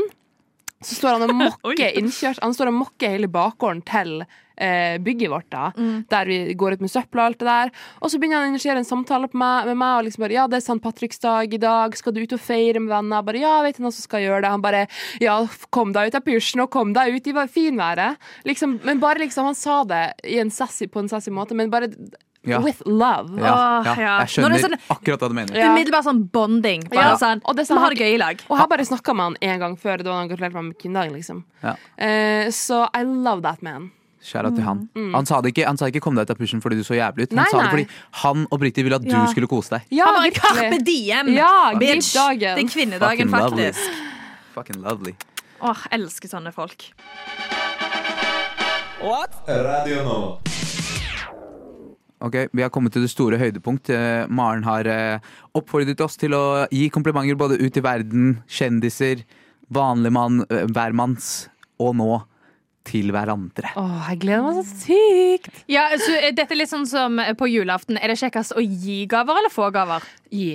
Speaker 6: så står han og mokker innkjørs, Han står og mokker hele bakgården til eh, bygget vårt, da,
Speaker 4: Mm.
Speaker 6: der vi går ut med søpla og alt det der. Og så begynner han å initiere en samtale på meg, med meg og liksom bare 'Ja, det er St. Patricks dag i dag. Skal du ut og feire med venner?' Jeg bare 'Ja, vet du noen som skal gjøre det?' Han bare 'Ja, f- kom deg ut av pysjen, og kom deg ut i va- finværet'. Liksom, men bare liksom Han sa det i en sassy, på en sassy måte, men bare
Speaker 3: Ja.
Speaker 6: with love.
Speaker 3: Ja, ja.
Speaker 4: Åh, ja.
Speaker 3: Jeg
Speaker 4: Når det
Speaker 3: skjønner
Speaker 4: er sånn-
Speaker 3: akkurat hva du mener.
Speaker 6: Ja.
Speaker 4: Umiddelbart sånn bonding. Bare
Speaker 6: Ja,
Speaker 4: sånn,
Speaker 6: og det sa
Speaker 4: Vi har
Speaker 6: han-
Speaker 4: det gøy i lag.
Speaker 6: Og jeg har bare snakka med han én gang før, da han gratulerte meg med kvinnedagen, liksom.
Speaker 3: Ja.
Speaker 6: Eh, så I love that man.
Speaker 3: Shout out til han. Han sa det ikke, han sa ikke 'kom deg ut av pushen' fordi du så jævlig ut. Han
Speaker 6: Nei,
Speaker 3: sa det
Speaker 6: nei.
Speaker 3: fordi han oppriktig ville at du
Speaker 4: Ja.
Speaker 3: skulle kose deg.
Speaker 6: Ja,
Speaker 4: Han bare
Speaker 6: virkelig.
Speaker 4: Carpe diem!
Speaker 6: Ja,
Speaker 4: bitch.
Speaker 6: giv dagen.
Speaker 4: Det er kvinnedagen,
Speaker 3: Fucking lovely.
Speaker 4: faktisk.
Speaker 3: Fucking lovely.
Speaker 4: Åh, elsker sånne folk.
Speaker 3: Ok, Vi har kommet til det store høydepunkt. Eh, Maren har eh, oppfordret oss til å gi komplimenter både ut i verden, kjendiser, vanlig mann, eh, hvermanns, og nå til hverandre.
Speaker 6: Åh, jeg gleder meg så sykt!
Speaker 4: Ja, så eh, dette er litt sånn som eh, på julaften. Er det kjekkest å gi gaver eller få gaver?
Speaker 6: Gi.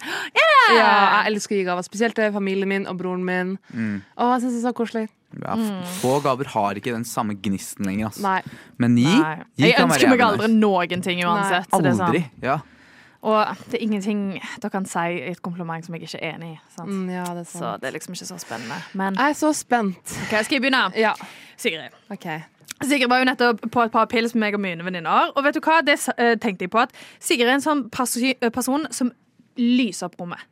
Speaker 6: Ja, jeg elsker å gi gaver, spesielt til familien min og broren min. Åh, jeg synes det er så koselig.
Speaker 3: Ja,
Speaker 4: Mm.
Speaker 3: f- få gaver har ikke den samme gnisten lenger. ass.
Speaker 6: Nei.
Speaker 3: Men gi,
Speaker 4: Nei.
Speaker 3: gi
Speaker 4: Jeg
Speaker 3: kan være
Speaker 4: ønsker meg
Speaker 3: jævlig
Speaker 4: aldri
Speaker 3: nice.
Speaker 4: noen ting uansett. så det er sånn.
Speaker 3: Aldri. Ja.
Speaker 4: Og det er ingenting dere kan si i et kompliment som jeg ikke er enig i. Sant?
Speaker 6: Mm, ja, det er
Speaker 4: Så
Speaker 6: sant.
Speaker 4: det er liksom ikke så spennende. Men
Speaker 6: Jeg er så spent.
Speaker 4: ok, skal jeg begynne?
Speaker 6: Ja,
Speaker 4: Sigrid.
Speaker 6: OK.
Speaker 4: Sigrid var jo nettopp på et par pils med meg og mine venninner. Og vet du hva, det s- eh, tenkte jeg på at Sigrid er en sånn perso- eh, person som lyser opp rommet.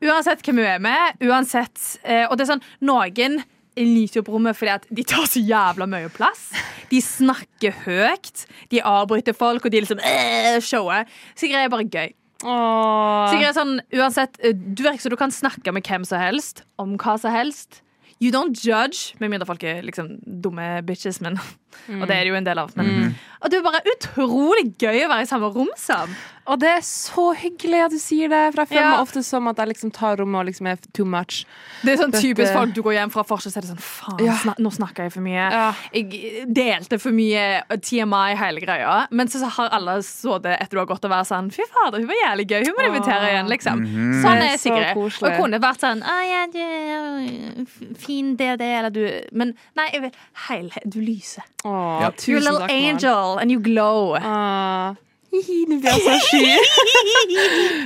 Speaker 4: Uansett hvem hun er med, uansett eh, Og det er sånn, noen lyser opp rommet fordi at de tar så jævla mye plass. De snakker høyt, de avbryter folk, og de liksom øh, shower. Sigrid er bare gøy. Sigrid er sånn, uansett, eh, Du virker som du kan snakke med hvem som helst om hva som helst. You don't judge, med mindre folk er liksom dumme bitches, men og det er det jo en del av. Men, Og det er bare utrolig gøy å være i samme rom som.
Speaker 6: Og det er så hyggelig at du sier det, for jeg føler
Speaker 4: Ja.
Speaker 6: meg ofte som at jeg liksom tar rommet og liksom er too much.
Speaker 4: Det er sånn
Speaker 6: Dette-
Speaker 4: typisk folk du går hjem fra forskjell, så er det sånn faen,
Speaker 6: Ja.
Speaker 4: sna nå snakker jeg for mye.
Speaker 6: Ja.
Speaker 4: Jeg delte for mye eh, TMI, hele greia. Men så har alle så det etter du har gått og vært sånn fy fader, hun var jævlig gøy, hun må du invitere igjen, liksom. Sånn
Speaker 6: Det
Speaker 4: er
Speaker 6: er
Speaker 4: jeg
Speaker 6: så
Speaker 4: Sigrid. Og
Speaker 6: koselig.
Speaker 4: jeg kunne vært sånn å ja, du er f- fin det, det, eller du Men nei, jeg vil helhet. Du lyser.
Speaker 6: Åh,
Speaker 3: Ja.
Speaker 4: You're a
Speaker 6: Tusen
Speaker 4: little
Speaker 6: takk, Maren.
Speaker 4: angel, and you glow.
Speaker 6: Ah. Hihi, nå blir jeg så sky.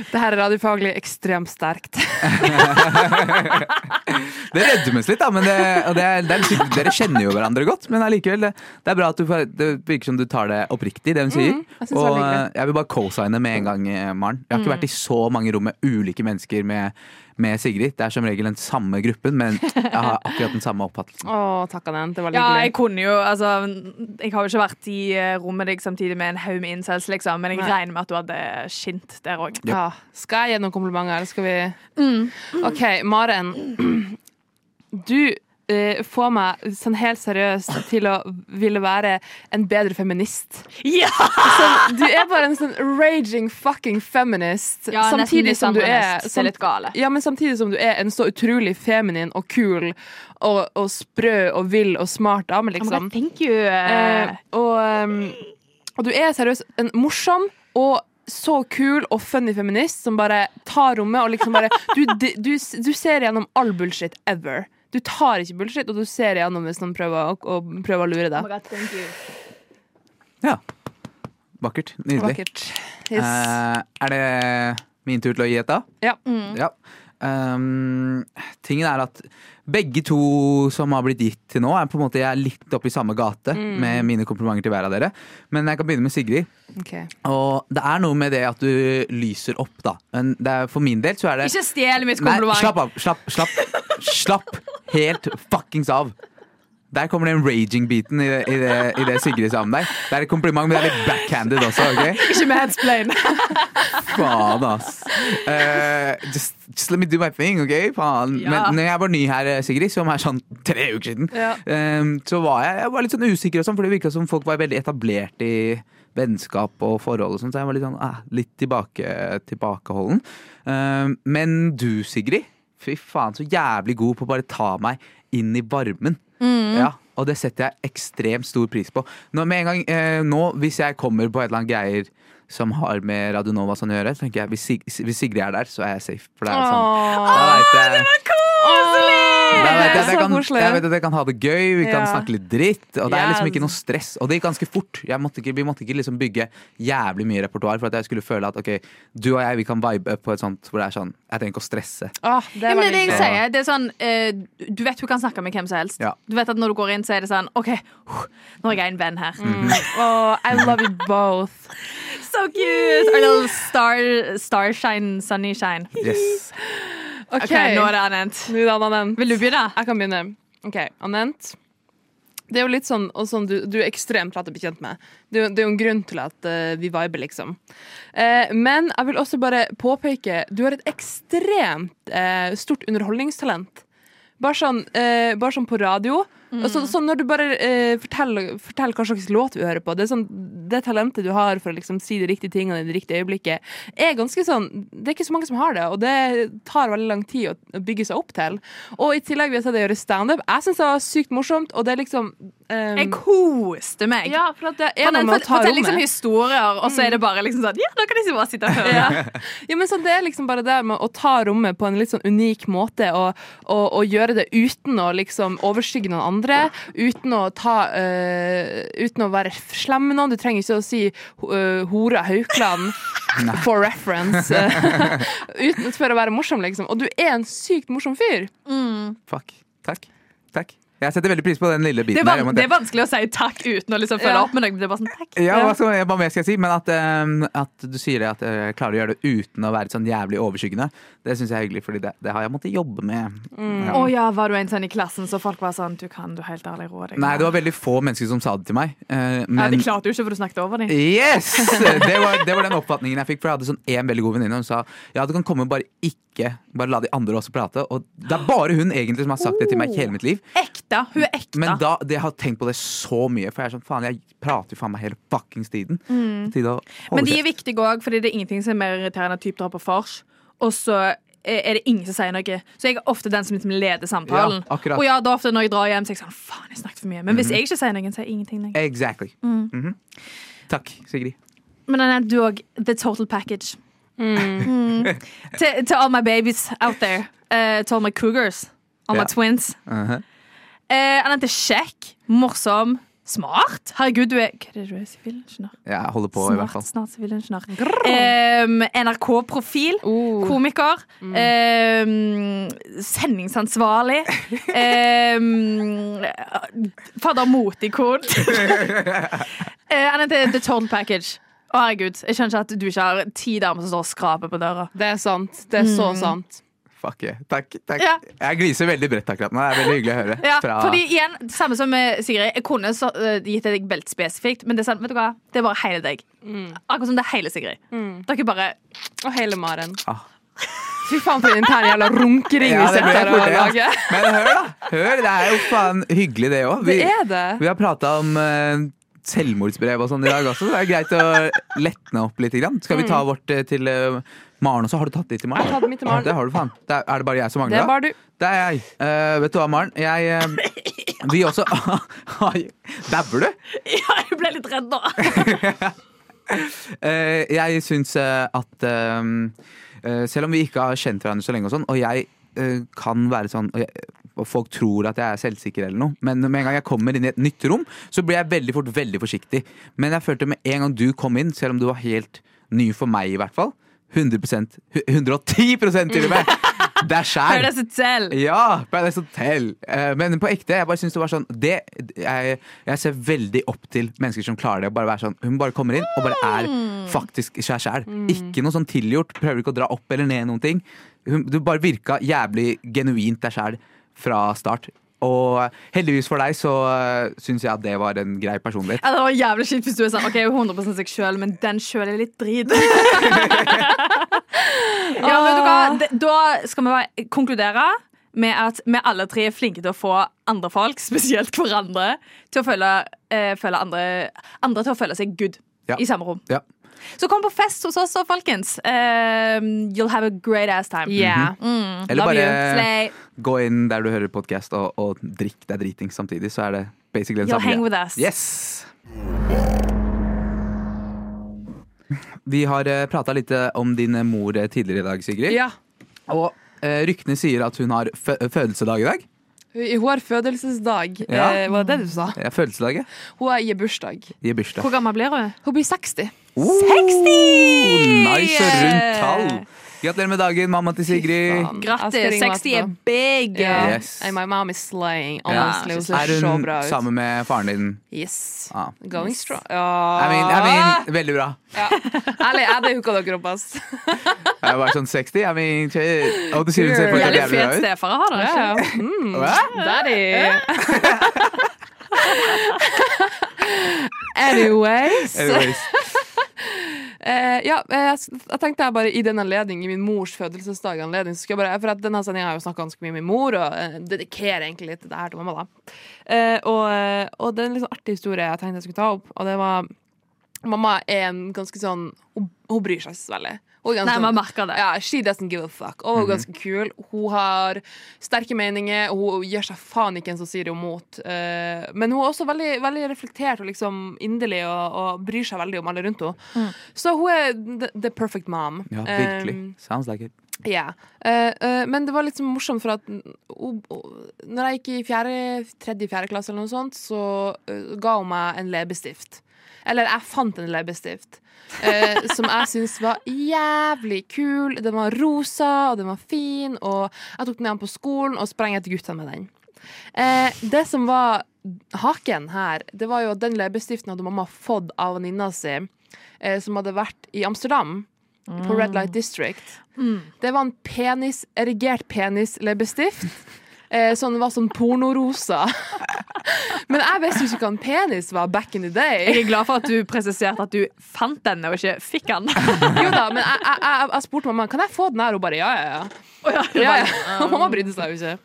Speaker 6: det her er radiofaglig ekstremt sterkt.
Speaker 3: Det rødmes litt, da, men det, og det, er- det er litt, dere kjenner jo hverandre godt. Men allikevel, det, det er bra at du, får- det virker som du tar det oppriktig, det hun sier.
Speaker 6: Mm, jeg synes det er Mm.
Speaker 3: og
Speaker 6: veldig
Speaker 3: eh, jeg vil bare co-signe med en gang, eh, Maren. Jeg har ikke vært i så mange rom med ulike mennesker med, med Sigrid. Det er som regel den samme gruppen, men jeg har akkurat den samme oppfattelsen.
Speaker 6: Å, takk Anette, det var
Speaker 4: Ja, jeg
Speaker 6: hyggelig.
Speaker 4: kunne jo altså, Jeg har jo ikke vært i eh, rommet deg samtidig med en haug med incels, liksom, men jeg
Speaker 6: Nei.
Speaker 4: regner med at du hadde skint der òg.
Speaker 6: Ja. Skal jeg gi noen komplimenter, eller skal vi
Speaker 4: Mm.
Speaker 6: OK, Maren. Du eh, får meg sånn helt seriøst til å ville være en bedre feminist.
Speaker 4: Ja!
Speaker 6: Sånn, du er bare en sånn raging fucking feminist. samtidig som du er
Speaker 4: Det er litt gale.
Speaker 6: Ja, men samtidig som du er en så utrolig feminin og kul og, og sprø og vill og smart dame, liksom.
Speaker 4: thank you.
Speaker 6: Eh, og, ehm, og du er seriøst en morsom og så kul og funny feminist som bare tar rommet og liksom bare Du, du, du, du ser gjennom all bullshit ever. Du tar ikke bullshit, og du ser gjennom hvis noen prøver å, å, prøver å lure
Speaker 4: Oh
Speaker 6: deg.
Speaker 3: Ja. Vakkert. Nydelig.
Speaker 6: Vakkert. Yes.
Speaker 3: Eh, er det min tur til å gi et, da?
Speaker 6: Ja.
Speaker 4: Mm.
Speaker 3: Ja. Ehm, tingen er at begge to som har blitt gitt til nå, er på en måte jeg er litt oppe i samme gate
Speaker 4: Mm.
Speaker 3: med mine komplimenter til hver av dere. Men jeg kan begynne med Sigrid.
Speaker 6: ok.
Speaker 3: Og det er noe med det at du lyser opp, da. Men det er, for min del så er det
Speaker 4: Ikke stjel mitt
Speaker 3: Nei,
Speaker 4: kompliment.
Speaker 3: slapp av. Slapp, slapp, slapp helt fuckings av. Der kommer den raging-biten i, det- i, det- i det Sigrid sa om deg. Det er et kompliment, men det er litt backhanded også. ok?
Speaker 4: Ikke med headsplain.
Speaker 3: Faen, ass. Eh, just, just let me do my thing, OK? Faen.
Speaker 4: Ja.
Speaker 3: Men når jeg var ny her, Sigrid, som er sånn tre uker siden,
Speaker 6: Ja.
Speaker 3: eh, så var jeg, jeg var litt sånn usikker og sånn, for det virka som folk var veldig etablert i vennskap og forhold og sånn, så jeg var litt sånn ah, litt tilbake, tilbakeholden. Eh, men du, Sigrid, fy faen, så jævlig god på å bare ta meg inn i varmen.
Speaker 6: Mm.
Speaker 3: Ja, og det setter jeg ekstremt stor pris på. Nå, med en gang, eh, nå hvis jeg kommer på et eller annet greier som har med Radionova sånn å gjøre, så tenker jeg hvis, Sig hvis Sigrid er der, så er jeg safe. For det er sånn, da vet jeg, det var
Speaker 6: Åh,
Speaker 3: da vet jeg,
Speaker 6: det
Speaker 3: at
Speaker 6: er
Speaker 3: jeg,
Speaker 6: så
Speaker 3: kan,
Speaker 6: koselig.
Speaker 3: jeg vet at jeg kan ha det gøy, vi kan
Speaker 6: Ja.
Speaker 3: snakke litt dritt. Og det er liksom
Speaker 6: Yes.
Speaker 3: ikke noe stress. Og det gikk ganske fort. Jeg måtte ikke, vi måtte ikke liksom bygge jævlig mye repertoar for at jeg skulle føle at ok, du og jeg vi kan vibe på et sånt hvor det er sånn Jeg trenger ikke å stresse.
Speaker 6: Åh, det
Speaker 4: Ja,
Speaker 6: var
Speaker 4: men det er det jeg
Speaker 6: hyggelig.
Speaker 4: sier. Det er sånn, eh, du vet du kan snakke med hvem som helst.
Speaker 3: Ja.
Speaker 4: Du vet at Når du går inn, så er det sånn OK, huh, nå er jeg en venn her.
Speaker 3: Mhm.
Speaker 6: Åh, I love you both.
Speaker 4: So cute! Our little star, starshine, sunny shine.
Speaker 3: Yes.
Speaker 6: OK,
Speaker 4: OK, nå er det annet.
Speaker 6: Nå da, Anent.
Speaker 4: Vil du begynne?
Speaker 6: Jeg kan begynne. OK, Anent. Det er jo litt sånn, og sånn du, du er ekstremt lett å bli kjent med. Det er, jo- det er jo en grunn til at eh, vi viber, liksom. Eh, men jeg vil også bare påpeke du har et ekstremt eh, stort underholdningstalent. Bare sånn, eh, bare sånn på radio. Og så, så når du bare eh, forteller, forteller hva slags låt vi hører på Det, er sånn, det talentet du har for å liksom, si de riktige tingene i det riktige øyeblikket, er ganske sånn Det er ikke så mange som har det, og det tar veldig lang tid å, å bygge seg opp til. Og i tillegg vil jeg si det gjøre standup. Jeg syns det var sykt morsomt, og det er liksom eh,
Speaker 4: Jeg koste meg.
Speaker 6: Ja, for at det er
Speaker 4: Han
Speaker 6: noe med å ta
Speaker 4: forteller liksom
Speaker 6: rommet.
Speaker 4: historier, og så er det bare liksom sånn Ja, da kan jeg bare sitte og høre.
Speaker 6: Ja, men sånn, Det er liksom bare det med å ta rommet på en litt sånn unik måte, og, og, og gjøre det uten å liksom overskygge noen andre. Uten å, ta, øh, uten å være slem med noen. Du trenger ikke å si øh, 'hora Haukland' for reference. uten for å være morsom, liksom. Og du er en sykt morsom fyr.
Speaker 3: Fuck. Takk. Takk. Jeg setter veldig pris på den lille
Speaker 4: Det
Speaker 3: biten
Speaker 4: er, van
Speaker 3: om at
Speaker 4: det
Speaker 3: jeg-
Speaker 4: er vanskelig å si takk uten å liksom følge
Speaker 6: Ja.
Speaker 4: opp med noe. Det er bare sånn, takk.
Speaker 3: Ja, hva, skal, hva mer skal jeg si? Men at, eh, at du sier det at eh, jeg klarer å gjøre det uten å være sånn jævlig overskyggende, det syns jeg er hyggelig, Fordi det, det har jeg måttet jobbe med. Ja.
Speaker 4: Å ja, var du en sånn i klassen så folk var sånn Du kan du helt ærlig rå deg.
Speaker 3: Nei, det var veldig få mennesker som sa det til meg. eh,
Speaker 4: ja,
Speaker 3: men
Speaker 4: De klarte jo ikke, for du snakket over dem.
Speaker 3: Yes! Det var, det var den oppfatningen jeg fikk. For jeg hadde sånn en veldig god venninne. og Hun sa ja, du kan komme, bare ikke Bare la de andre også prate. Og det er bare hun egentlig som har sagt det til meg hele mitt liv.
Speaker 4: Ekte! Hun er ekte.
Speaker 3: Men da, det, jeg har tenkt på det så mye, for jeg er sånn faen, jeg prater jo faen meg hele fuckings tiden. På tide å holde
Speaker 4: Mm. Men de
Speaker 3: kjeft.
Speaker 4: er viktige òg, fordi det er ingenting som er mer irriterende enn typ drar på vors, og så er det ingen som sier noe. Så jeg er ofte den som liksom leder samtalen.
Speaker 3: Ja, akkurat. Mhm.
Speaker 4: og ja, da ofte når jeg drar hjem, så er jeg sånn Faen, jeg snakket for mye. Men hvis jeg ikke sier noe, så er jeg ingenting lenger.
Speaker 3: Exactly.
Speaker 6: Mm.
Speaker 3: Mhm. Takk, Sigrid.
Speaker 4: Men Anette, du òg. The total package. Mm. Til til all my babies out there. Uh, to all my cougars. All
Speaker 3: Ja.
Speaker 4: my twins.
Speaker 3: Mhm.
Speaker 4: Eh, Anette er kjekk, morsom, smart. Herregud, du er Hva er det du er? Sivilingeniør?
Speaker 3: Jeg holder på, i hvert
Speaker 4: Smart,
Speaker 3: fall.
Speaker 4: snart sivilingeniør. Em, NRK-profil.
Speaker 6: Oh.
Speaker 4: Komiker. em, sendingsansvarlig. Um, Fadder motikon. Eh, Anette, the total package. Å, herregud. Jeg skjønner ikke at du ikke har ti damer som står og skraper på døra.
Speaker 6: Det er sant. Det er så
Speaker 3: Mm.
Speaker 6: sant.
Speaker 3: Fuck yeah. Takk. takk.
Speaker 4: Ja.
Speaker 3: Jeg gliser veldig bredt akkurat nå. Det er veldig hyggelig å høre.
Speaker 4: Ja,
Speaker 3: fra-
Speaker 4: fordi igjen, Samme som med Sigrid. Jeg kunne så, eh, gitt deg belte spesifikt, men det er sant, vet du hva? Det er bare hele deg. Akkurat som det er hele Sigrid. Dere bare
Speaker 6: Og hele Maren.
Speaker 3: Ah.
Speaker 6: Fy faen, for en intern jævla runkering
Speaker 3: Ja,
Speaker 6: vi
Speaker 3: det ble
Speaker 6: sitter her
Speaker 3: fort
Speaker 6: og
Speaker 3: det, ja.
Speaker 6: lager.
Speaker 3: Men hør, da! Hør, Det er jo faen hyggelig, det òg.
Speaker 6: Det er det.
Speaker 3: Vi har prata om eh, selvmordsbrev og sånn i dag også. så Det er greit å letne opp litt. Grann. Skal vi ta vårt eh, til eh, Maren også? Har du tatt ditt til Maren?
Speaker 6: Mm. Jeg har tatt mitt til Maren.
Speaker 3: Det har du, faen. Det er, er det bare jeg som
Speaker 6: Det
Speaker 3: mangler?
Speaker 6: er bare du.
Speaker 3: Det er jeg. Eh, vet du hva, Maren? Jeg eh, Vi også Oi, Dabber du?
Speaker 4: Ja, jeg ble litt redd nå.
Speaker 3: Eh, jeg syns eh, at eh, eh, Selv om vi ikke har kjent hverandre så lenge, og sånn Og jeg eh, kan være sånn og, jeg, og folk tror at jeg er selvsikker eller noe, men med en gang jeg kommer inn i et nytt rom, så blir jeg veldig fort veldig forsiktig. Men jeg følte med en gang du kom inn, selv om du var helt ny for meg, i hvert fall 100 hu- 110 til og med! Det er skjær!
Speaker 4: Paradise Hotel.
Speaker 3: Ja! Paradise Hotel. Eh, Men på ekte, jeg bare syns det var sånn det, jeg, jeg ser veldig opp til mennesker som klarer det. å Bare være sånn, Hun bare kommer inn og bare er faktisk seg sjæl. Ikke noe sånn tilgjort. Prøver ikke å dra opp eller ned noen ting. Hun, du bare virka jævlig genuint deg sjæl fra start. Og heldigvis for deg så uh, syns jeg at det var en grei personlighet.
Speaker 4: Ja, det var jævlig kjipt hvis du er sånn OK, jeg er 100 seg sjøl, men den sjøl er litt drit. ja, vet du hva? D- Da skal vi bare konkludere med at vi alle tre er flinke til å få andre folk, spesielt hverandre, til å føle, eh, føle andre, andre til å føle seg good
Speaker 3: Ja.
Speaker 4: i samme rom.
Speaker 3: Ja.
Speaker 4: Så kom på fest hos oss, da, folkens. Eh, you'll have a great ass time.
Speaker 6: Yeah.
Speaker 4: Mm,
Speaker 3: Eller
Speaker 4: love
Speaker 3: bare-
Speaker 4: you. Slay.
Speaker 3: Gå inn der du hører podkast og, og drikk deg dritings samtidig, så er det basically den
Speaker 4: You'll
Speaker 3: samme
Speaker 4: hang
Speaker 3: greia.
Speaker 4: with us.
Speaker 3: Yes! Vi har prata litt eh, om din mor eh, tidligere i dag, Sigrid.
Speaker 6: Ja.
Speaker 3: Og eh, ryktene sier at hun har fø fødselsdag i dag.
Speaker 6: Hun har fødelsesdag.
Speaker 3: Ja.
Speaker 6: Eh, Hva var det du sa?
Speaker 3: Ja, fødselsdag, ja.
Speaker 6: Hun har bursdag.
Speaker 3: I bursdag.
Speaker 4: Hvor gammel blir hun?
Speaker 6: Hun blir 60.
Speaker 3: Oh, Nice og rundt tall! Gratulerer med dagen, mamma til Sigrid.
Speaker 6: Faen. Jeg
Speaker 4: Grattis.
Speaker 6: skal ringe
Speaker 4: 60 er
Speaker 6: henne
Speaker 4: big.
Speaker 6: Ja.
Speaker 3: Yes.
Speaker 6: And my mom is slaying. Honestly, hun ser
Speaker 3: Er
Speaker 6: så
Speaker 3: hun
Speaker 6: bra ut.
Speaker 3: sammen med faren din?
Speaker 6: Yes.
Speaker 3: Ja.
Speaker 6: Going strong.
Speaker 3: I mean, I
Speaker 6: Ah!
Speaker 3: mean, veldig bra.
Speaker 6: Ja. Ærlig, jeg hadde hooka dere opp, ass.
Speaker 3: Jeg var sånn 60. I mean, shit. Og du sier hun ser fortsatt
Speaker 4: Jævlig
Speaker 3: jævlig
Speaker 4: fet
Speaker 3: bra ut.
Speaker 4: stefar har det. ikke?
Speaker 6: Mm.
Speaker 3: Hva?
Speaker 6: Daddy. Anyways.
Speaker 3: Anyways.
Speaker 6: Eh, ja, eh, jeg, s- jeg tenkte jeg bare i den anledning, i min mors fødselsdag anledning, så skal jeg bare, for at denne sendingen har jeg jo snakket ganske mye med min mor, og eh, dedikerer egentlig litt det her til mamma da. Eh, og, eh, og det er en litt sånn artig historie jeg tenkte jeg skulle ta opp, og det var, mamma er en ganske sånn, hun, hun bryr seg så veldig. Hun er ganske
Speaker 4: Nei,
Speaker 6: sånn-
Speaker 4: man merker det.
Speaker 6: ja, she doesn't give a fuck. Og hun er ganske kul. Hun har sterke meninger, og hun gir seg faen ikke en som sier det imot. Eh, Men hun er også veldig, veldig reflektert og liksom inderlig og, og bryr seg veldig om alle rundt henne.
Speaker 4: Mm.
Speaker 6: Så hun er the, the perfect mom.
Speaker 3: Ja, virkelig.
Speaker 6: Um,
Speaker 3: Sounds like it.
Speaker 6: ja. Eh, eh, men det var litt sånn morsomt, for at hun- hun- når jeg gikk i fjerde, tredje-fjerde klasse, eller noe sånt, så eh, ga hun meg en leppestift. Eller jeg fant en leppestift eh, som jeg syntes var jævlig kul. Den var rosa, og den var fin, og jeg tok den igjen på skolen og sprang etter guttene med den. Eh, det som var haken her, det var jo at den leppestiften hadde mamma fått av venninna si, eh, som hadde vært i Amsterdam. På Red Light District. Det var en penis, erigert penisleppestift. Eh, sånn det var sånn pornorosa. Men jeg visste jo ikke hva en penis var back in the day.
Speaker 4: Jeg er glad for at du presiserte at du fant den og ikke fikk den.
Speaker 6: Jo da, men jeg, jeg, jeg, jeg spurte mamma Kan jeg få den her, og hun bare ja, ja, ja. ja, ja. Og mamma brydde seg jo ikke.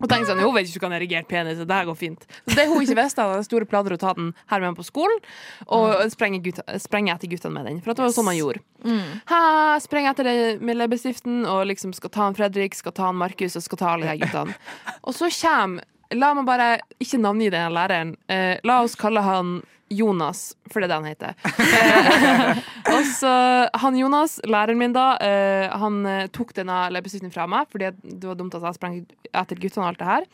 Speaker 6: Og tenkte sånn, Hun vet ikke hvordan erigert penis er, det her går fint. Så det hun ikke visste, hadde store planer å ta den her med meg på skolen og sprenge, gutta, sprenge etter guttene med den. For at det var sånn man gjorde. Ha, sprenge etter det med leppestiften og liksom skal ta en Fredrik, skal ta en Markus og skal ta alle de her guttene. Og så kommer La meg bare ikke navngi den læreren. Eh, la oss kalle han Jonas, for det er det han heter. Og så han Jonas, læreren min da, eh, han eh, tok denne leppestiften fra meg, fordi at det var dumt at jeg sprang etter guttene og alt det her.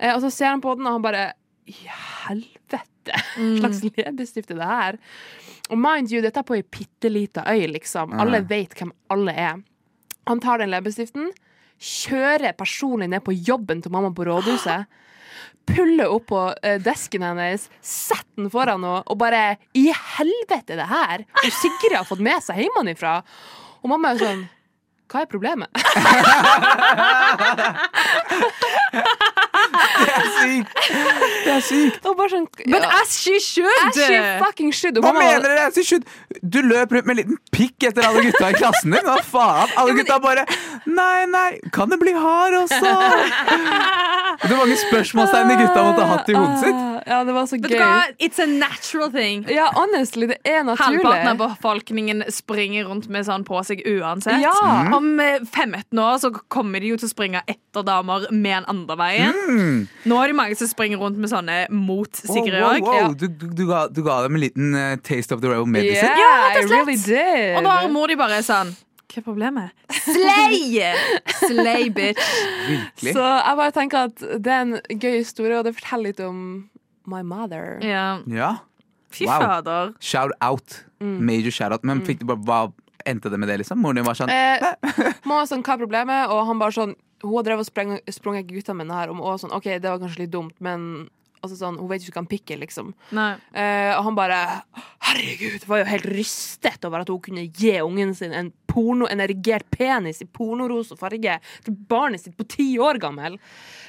Speaker 6: Eh, og så ser han på den, og han bare I helvete! Hva slags leppestift er det her? Og mind you, dette er på ei bitte lita øy, liksom. Alle vet hvem alle er. Han tar den leppestiften, kjører personlig ned på jobben til mamma på rådhuset. Puller opp på eh, desken hennes, setter den foran henne og bare I helvete, er det her! Og Sigrid har fått med seg hjemmefra. Og mamma er jo sånn Hva er problemet?
Speaker 3: Sykt! Det er sykt!
Speaker 6: Og bare sånn
Speaker 4: Men
Speaker 6: ja.
Speaker 4: as she should!
Speaker 6: Æsj, you fucking should! Og
Speaker 3: Hva
Speaker 6: mamma sånn, var-
Speaker 3: mener dere? Til slutt, du løp rundt med en liten pikk etter alle gutta i klassen din. Hva faen? Alle gutta bare Nei, nei, kan det bli hard også? Det var mange spørsmålstegn de gutta måtte ha hatt i hodet sitt.
Speaker 6: Ah, Ja, det var så
Speaker 4: Vet du
Speaker 6: gøy.
Speaker 4: hva? It's a natural thing.
Speaker 6: Ja, honestly, det er
Speaker 4: Halvparten av
Speaker 6: naturlig.
Speaker 4: befolkningen springer rundt med sånn på seg uansett.
Speaker 6: Ja. Mm.
Speaker 4: Om eh, 15 år så kommer de jo til å springe etter damer med en andre veien. Nå er det mange som springer rundt med sånne mot Sigrid
Speaker 3: Mm. Wow,
Speaker 4: òg.
Speaker 3: wow, wow. Du, du, du, ga, du ga dem en liten eh, taste of the road medicine.
Speaker 6: Yeah,
Speaker 4: Ja, rett og
Speaker 6: I
Speaker 4: slett.
Speaker 6: really did.
Speaker 4: Og nå har mor de bare sånn Hva er problemet? Slay! Slay, bitch.
Speaker 3: Virkelig.
Speaker 6: Så jeg bare tenker at det er en gøy historie, og det forteller litt om my mother.
Speaker 4: Ja.
Speaker 3: Ja.
Speaker 4: Fy
Speaker 3: Wow.
Speaker 4: fader.
Speaker 3: Shout out.
Speaker 6: Mm.
Speaker 3: Major shout out. Men fikk du bare, hva endte det med det, liksom? Moren din var sånn
Speaker 6: Eh, mamma var sånn, hva er problemet? Og han bare sånn, hun drev og spreng, sprung ikke guttene mine her, og også sånn, ok, det var kanskje litt dumt, men altså sånn, hun vet jo ikke hva han pikker, liksom.
Speaker 4: Nei.
Speaker 6: Eh, og han bare, herregud, var jo helt rystet over at hun kunne gi ungen sin en porno, en erigert penis i pornoros og farge til barnet sitt på ti år gammel.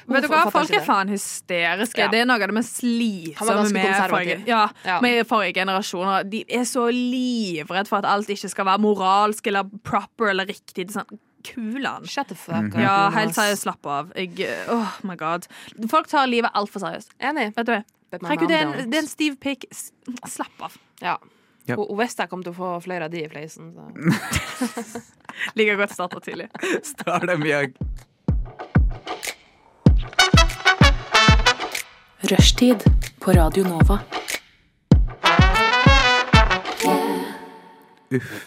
Speaker 6: Hun
Speaker 4: Vet du hva,
Speaker 6: fatter
Speaker 4: Folk er
Speaker 6: ikke det.
Speaker 4: faen hysteriske.
Speaker 6: Ja.
Speaker 4: Det er noe av det mest
Speaker 6: Han var
Speaker 4: slitsomme
Speaker 6: ganske
Speaker 4: med forrige,
Speaker 6: konservativ.
Speaker 4: ja,
Speaker 6: Ja.
Speaker 4: med forrige generasjoner. De er så livredd for at alt ikke skal være moralsk eller proper eller riktig. Det er Sånn, Kulan.
Speaker 6: Shut the fuck
Speaker 3: Mhm.
Speaker 6: up.
Speaker 4: Ja,
Speaker 6: Jonas.
Speaker 4: helt seriøst, slapp av. Jeg, oh my god. Folk tar livet altfor seriøst.
Speaker 6: Enig.
Speaker 4: Vet du hva?
Speaker 6: But my
Speaker 4: Herregud, det er
Speaker 6: mom
Speaker 4: en,
Speaker 6: don't.
Speaker 4: det er en stiv pikk. S- Slapp av.
Speaker 6: Ja.
Speaker 3: Ja.
Speaker 6: Hun hun visste jeg kom til å få flere av de i fleisen. Så.
Speaker 4: Liker godt starta tidlig.
Speaker 3: Star dem, Bjørg.
Speaker 5: Rushtid på Radio Nova.
Speaker 3: Uff.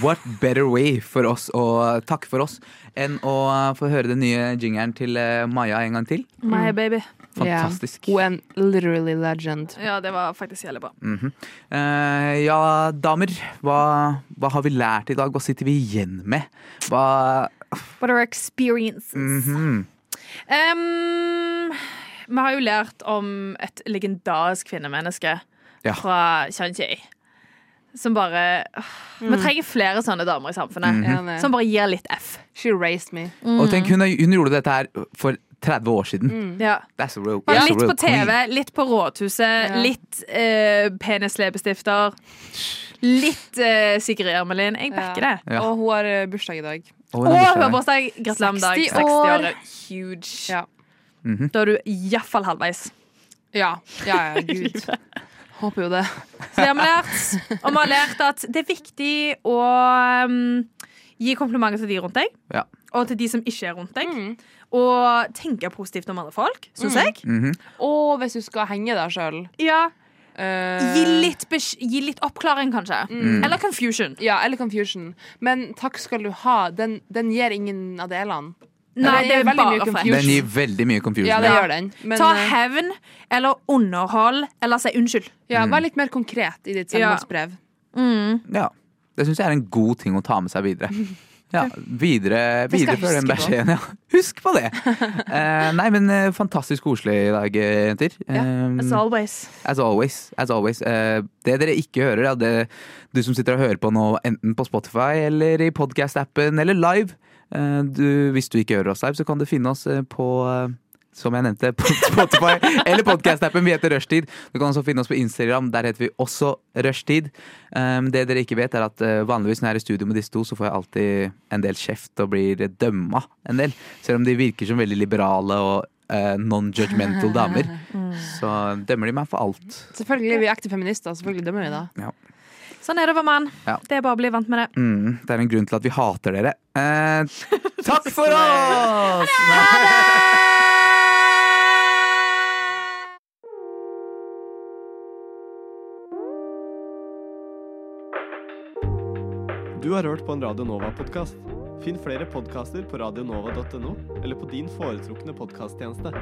Speaker 3: What better way for oss å takke for oss enn å eh, få høre den nye jingeren til eh, Maja en gang til?
Speaker 6: Mm.
Speaker 4: My baby.
Speaker 3: Fantastisk.
Speaker 6: Hun er en literally legend.
Speaker 4: Ja, det var faktisk jævlig bra.
Speaker 3: Eh, ja, damer. Hva, hva har vi lært i dag? Hva sitter vi igjen med? Hva
Speaker 4: What are experiences?
Speaker 3: mhm.
Speaker 4: Ehm, vi har jo lært om et legendarisk kvinnemenneske
Speaker 3: Ja.
Speaker 4: fra Shanji. Som bare åh, Vi trenger flere sånne damer i samfunnet.
Speaker 3: Mhm. Mm.
Speaker 6: Enig.
Speaker 4: Som bare gir litt F.
Speaker 6: She raised me.
Speaker 3: Og tenk, hun, er- hun gjorde dette her for 30 år siden.
Speaker 4: Ja.
Speaker 3: That's a real,
Speaker 4: Mm. Bare
Speaker 3: that's a
Speaker 4: litt
Speaker 3: real
Speaker 4: på TV,
Speaker 3: queen.
Speaker 4: litt på Rådhuset,
Speaker 6: Ja.
Speaker 4: litt eh, penisleppestifter. Litt eh, Sigrid Ermelin. Jeg backer det.
Speaker 3: Ja.
Speaker 6: Og hun har eh, bursdag i dag.
Speaker 3: Og hun
Speaker 4: Og
Speaker 3: har bursdag.
Speaker 4: hun har bursdag. Gratulerer med dag.
Speaker 6: 60
Speaker 4: 60
Speaker 6: år.
Speaker 4: år. Huge.
Speaker 6: Ja.
Speaker 4: Da er du iallfall halvveis.
Speaker 6: Ja, ja, ja gud. Håper jo det.
Speaker 4: Så det har vi lært. Og vi har lært at det er viktig å um, gi komplimenter til de rundt deg.
Speaker 3: Ja.
Speaker 4: Og til de som ikke er rundt deg.
Speaker 6: Mm.
Speaker 4: Og tenke positivt om andre folk, syns jeg.
Speaker 3: Mhm.
Speaker 6: Og hvis du skal henge deg sjøl
Speaker 4: Ja,
Speaker 6: Eh.
Speaker 4: gi, litt besk- gi litt oppklaring, kanskje.
Speaker 3: Mm.
Speaker 4: Eller confusion.
Speaker 6: Ja, eller confusion. Men takk skal du ha. Den, den gir ingen av delene.
Speaker 4: Nei,
Speaker 6: det
Speaker 4: det
Speaker 6: er
Speaker 4: er
Speaker 6: veldig mye
Speaker 4: bare
Speaker 6: confusion.
Speaker 4: fett.
Speaker 3: Den gir veldig mye confusion.
Speaker 6: Ja, det
Speaker 3: ja.
Speaker 6: gjør den. Men
Speaker 4: Ta
Speaker 6: eh,
Speaker 4: hevn eller underhold eller si unnskyld.
Speaker 3: Mm.
Speaker 6: ja, vær litt mer konkret i
Speaker 4: Mm.
Speaker 6: ditt
Speaker 4: Ja.
Speaker 6: selvmordsbrev.
Speaker 3: Ja. Det syns jeg er en god ting å ta med seg videre. Ja, videre,
Speaker 6: Det skal jeg
Speaker 3: videre den
Speaker 6: huske på.
Speaker 3: beskjeden. Ja. Husk på det! Eh, nei, men eh, fantastisk koselig i dag, eh, jenter. Eh,
Speaker 4: As always.
Speaker 3: As always. As always. Eh, det dere ikke hører, er det du som sitter og hører på nå, enten på Spotify eller i podcast-appen eller live. Eh, du, hvis du ikke hører oss live, så kan du finne oss eh, på eh, som jeg nevnte, på Spotify eller podcast-appen. Vi heter Rushtid. Du kan også finne oss på Instagram. Der heter vi også Rushtid. Eh, det dere ikke vet, er at eh, vanligvis når jeg er i studio med disse to, så får jeg alltid en del kjeft og blir dømma en del. Selv om de virker som veldig liberale og eh, non-judgmental damer. Så dømmer de meg for alt.
Speaker 6: Selvfølgelig, vi er ekte feminister, selvfølgelig dømmer vi da.
Speaker 4: Sånn er det å være mann.
Speaker 3: Ja.
Speaker 4: Det er bare å bli vant med det.
Speaker 3: Mm, det er en grunn til at vi hater dere. Eh, takk for oss! Nei.
Speaker 10: Du har hørt på en Radio Nova-podkast. Finn flere podkaster på radionova.no eller på din foretrukne podkasttjeneste.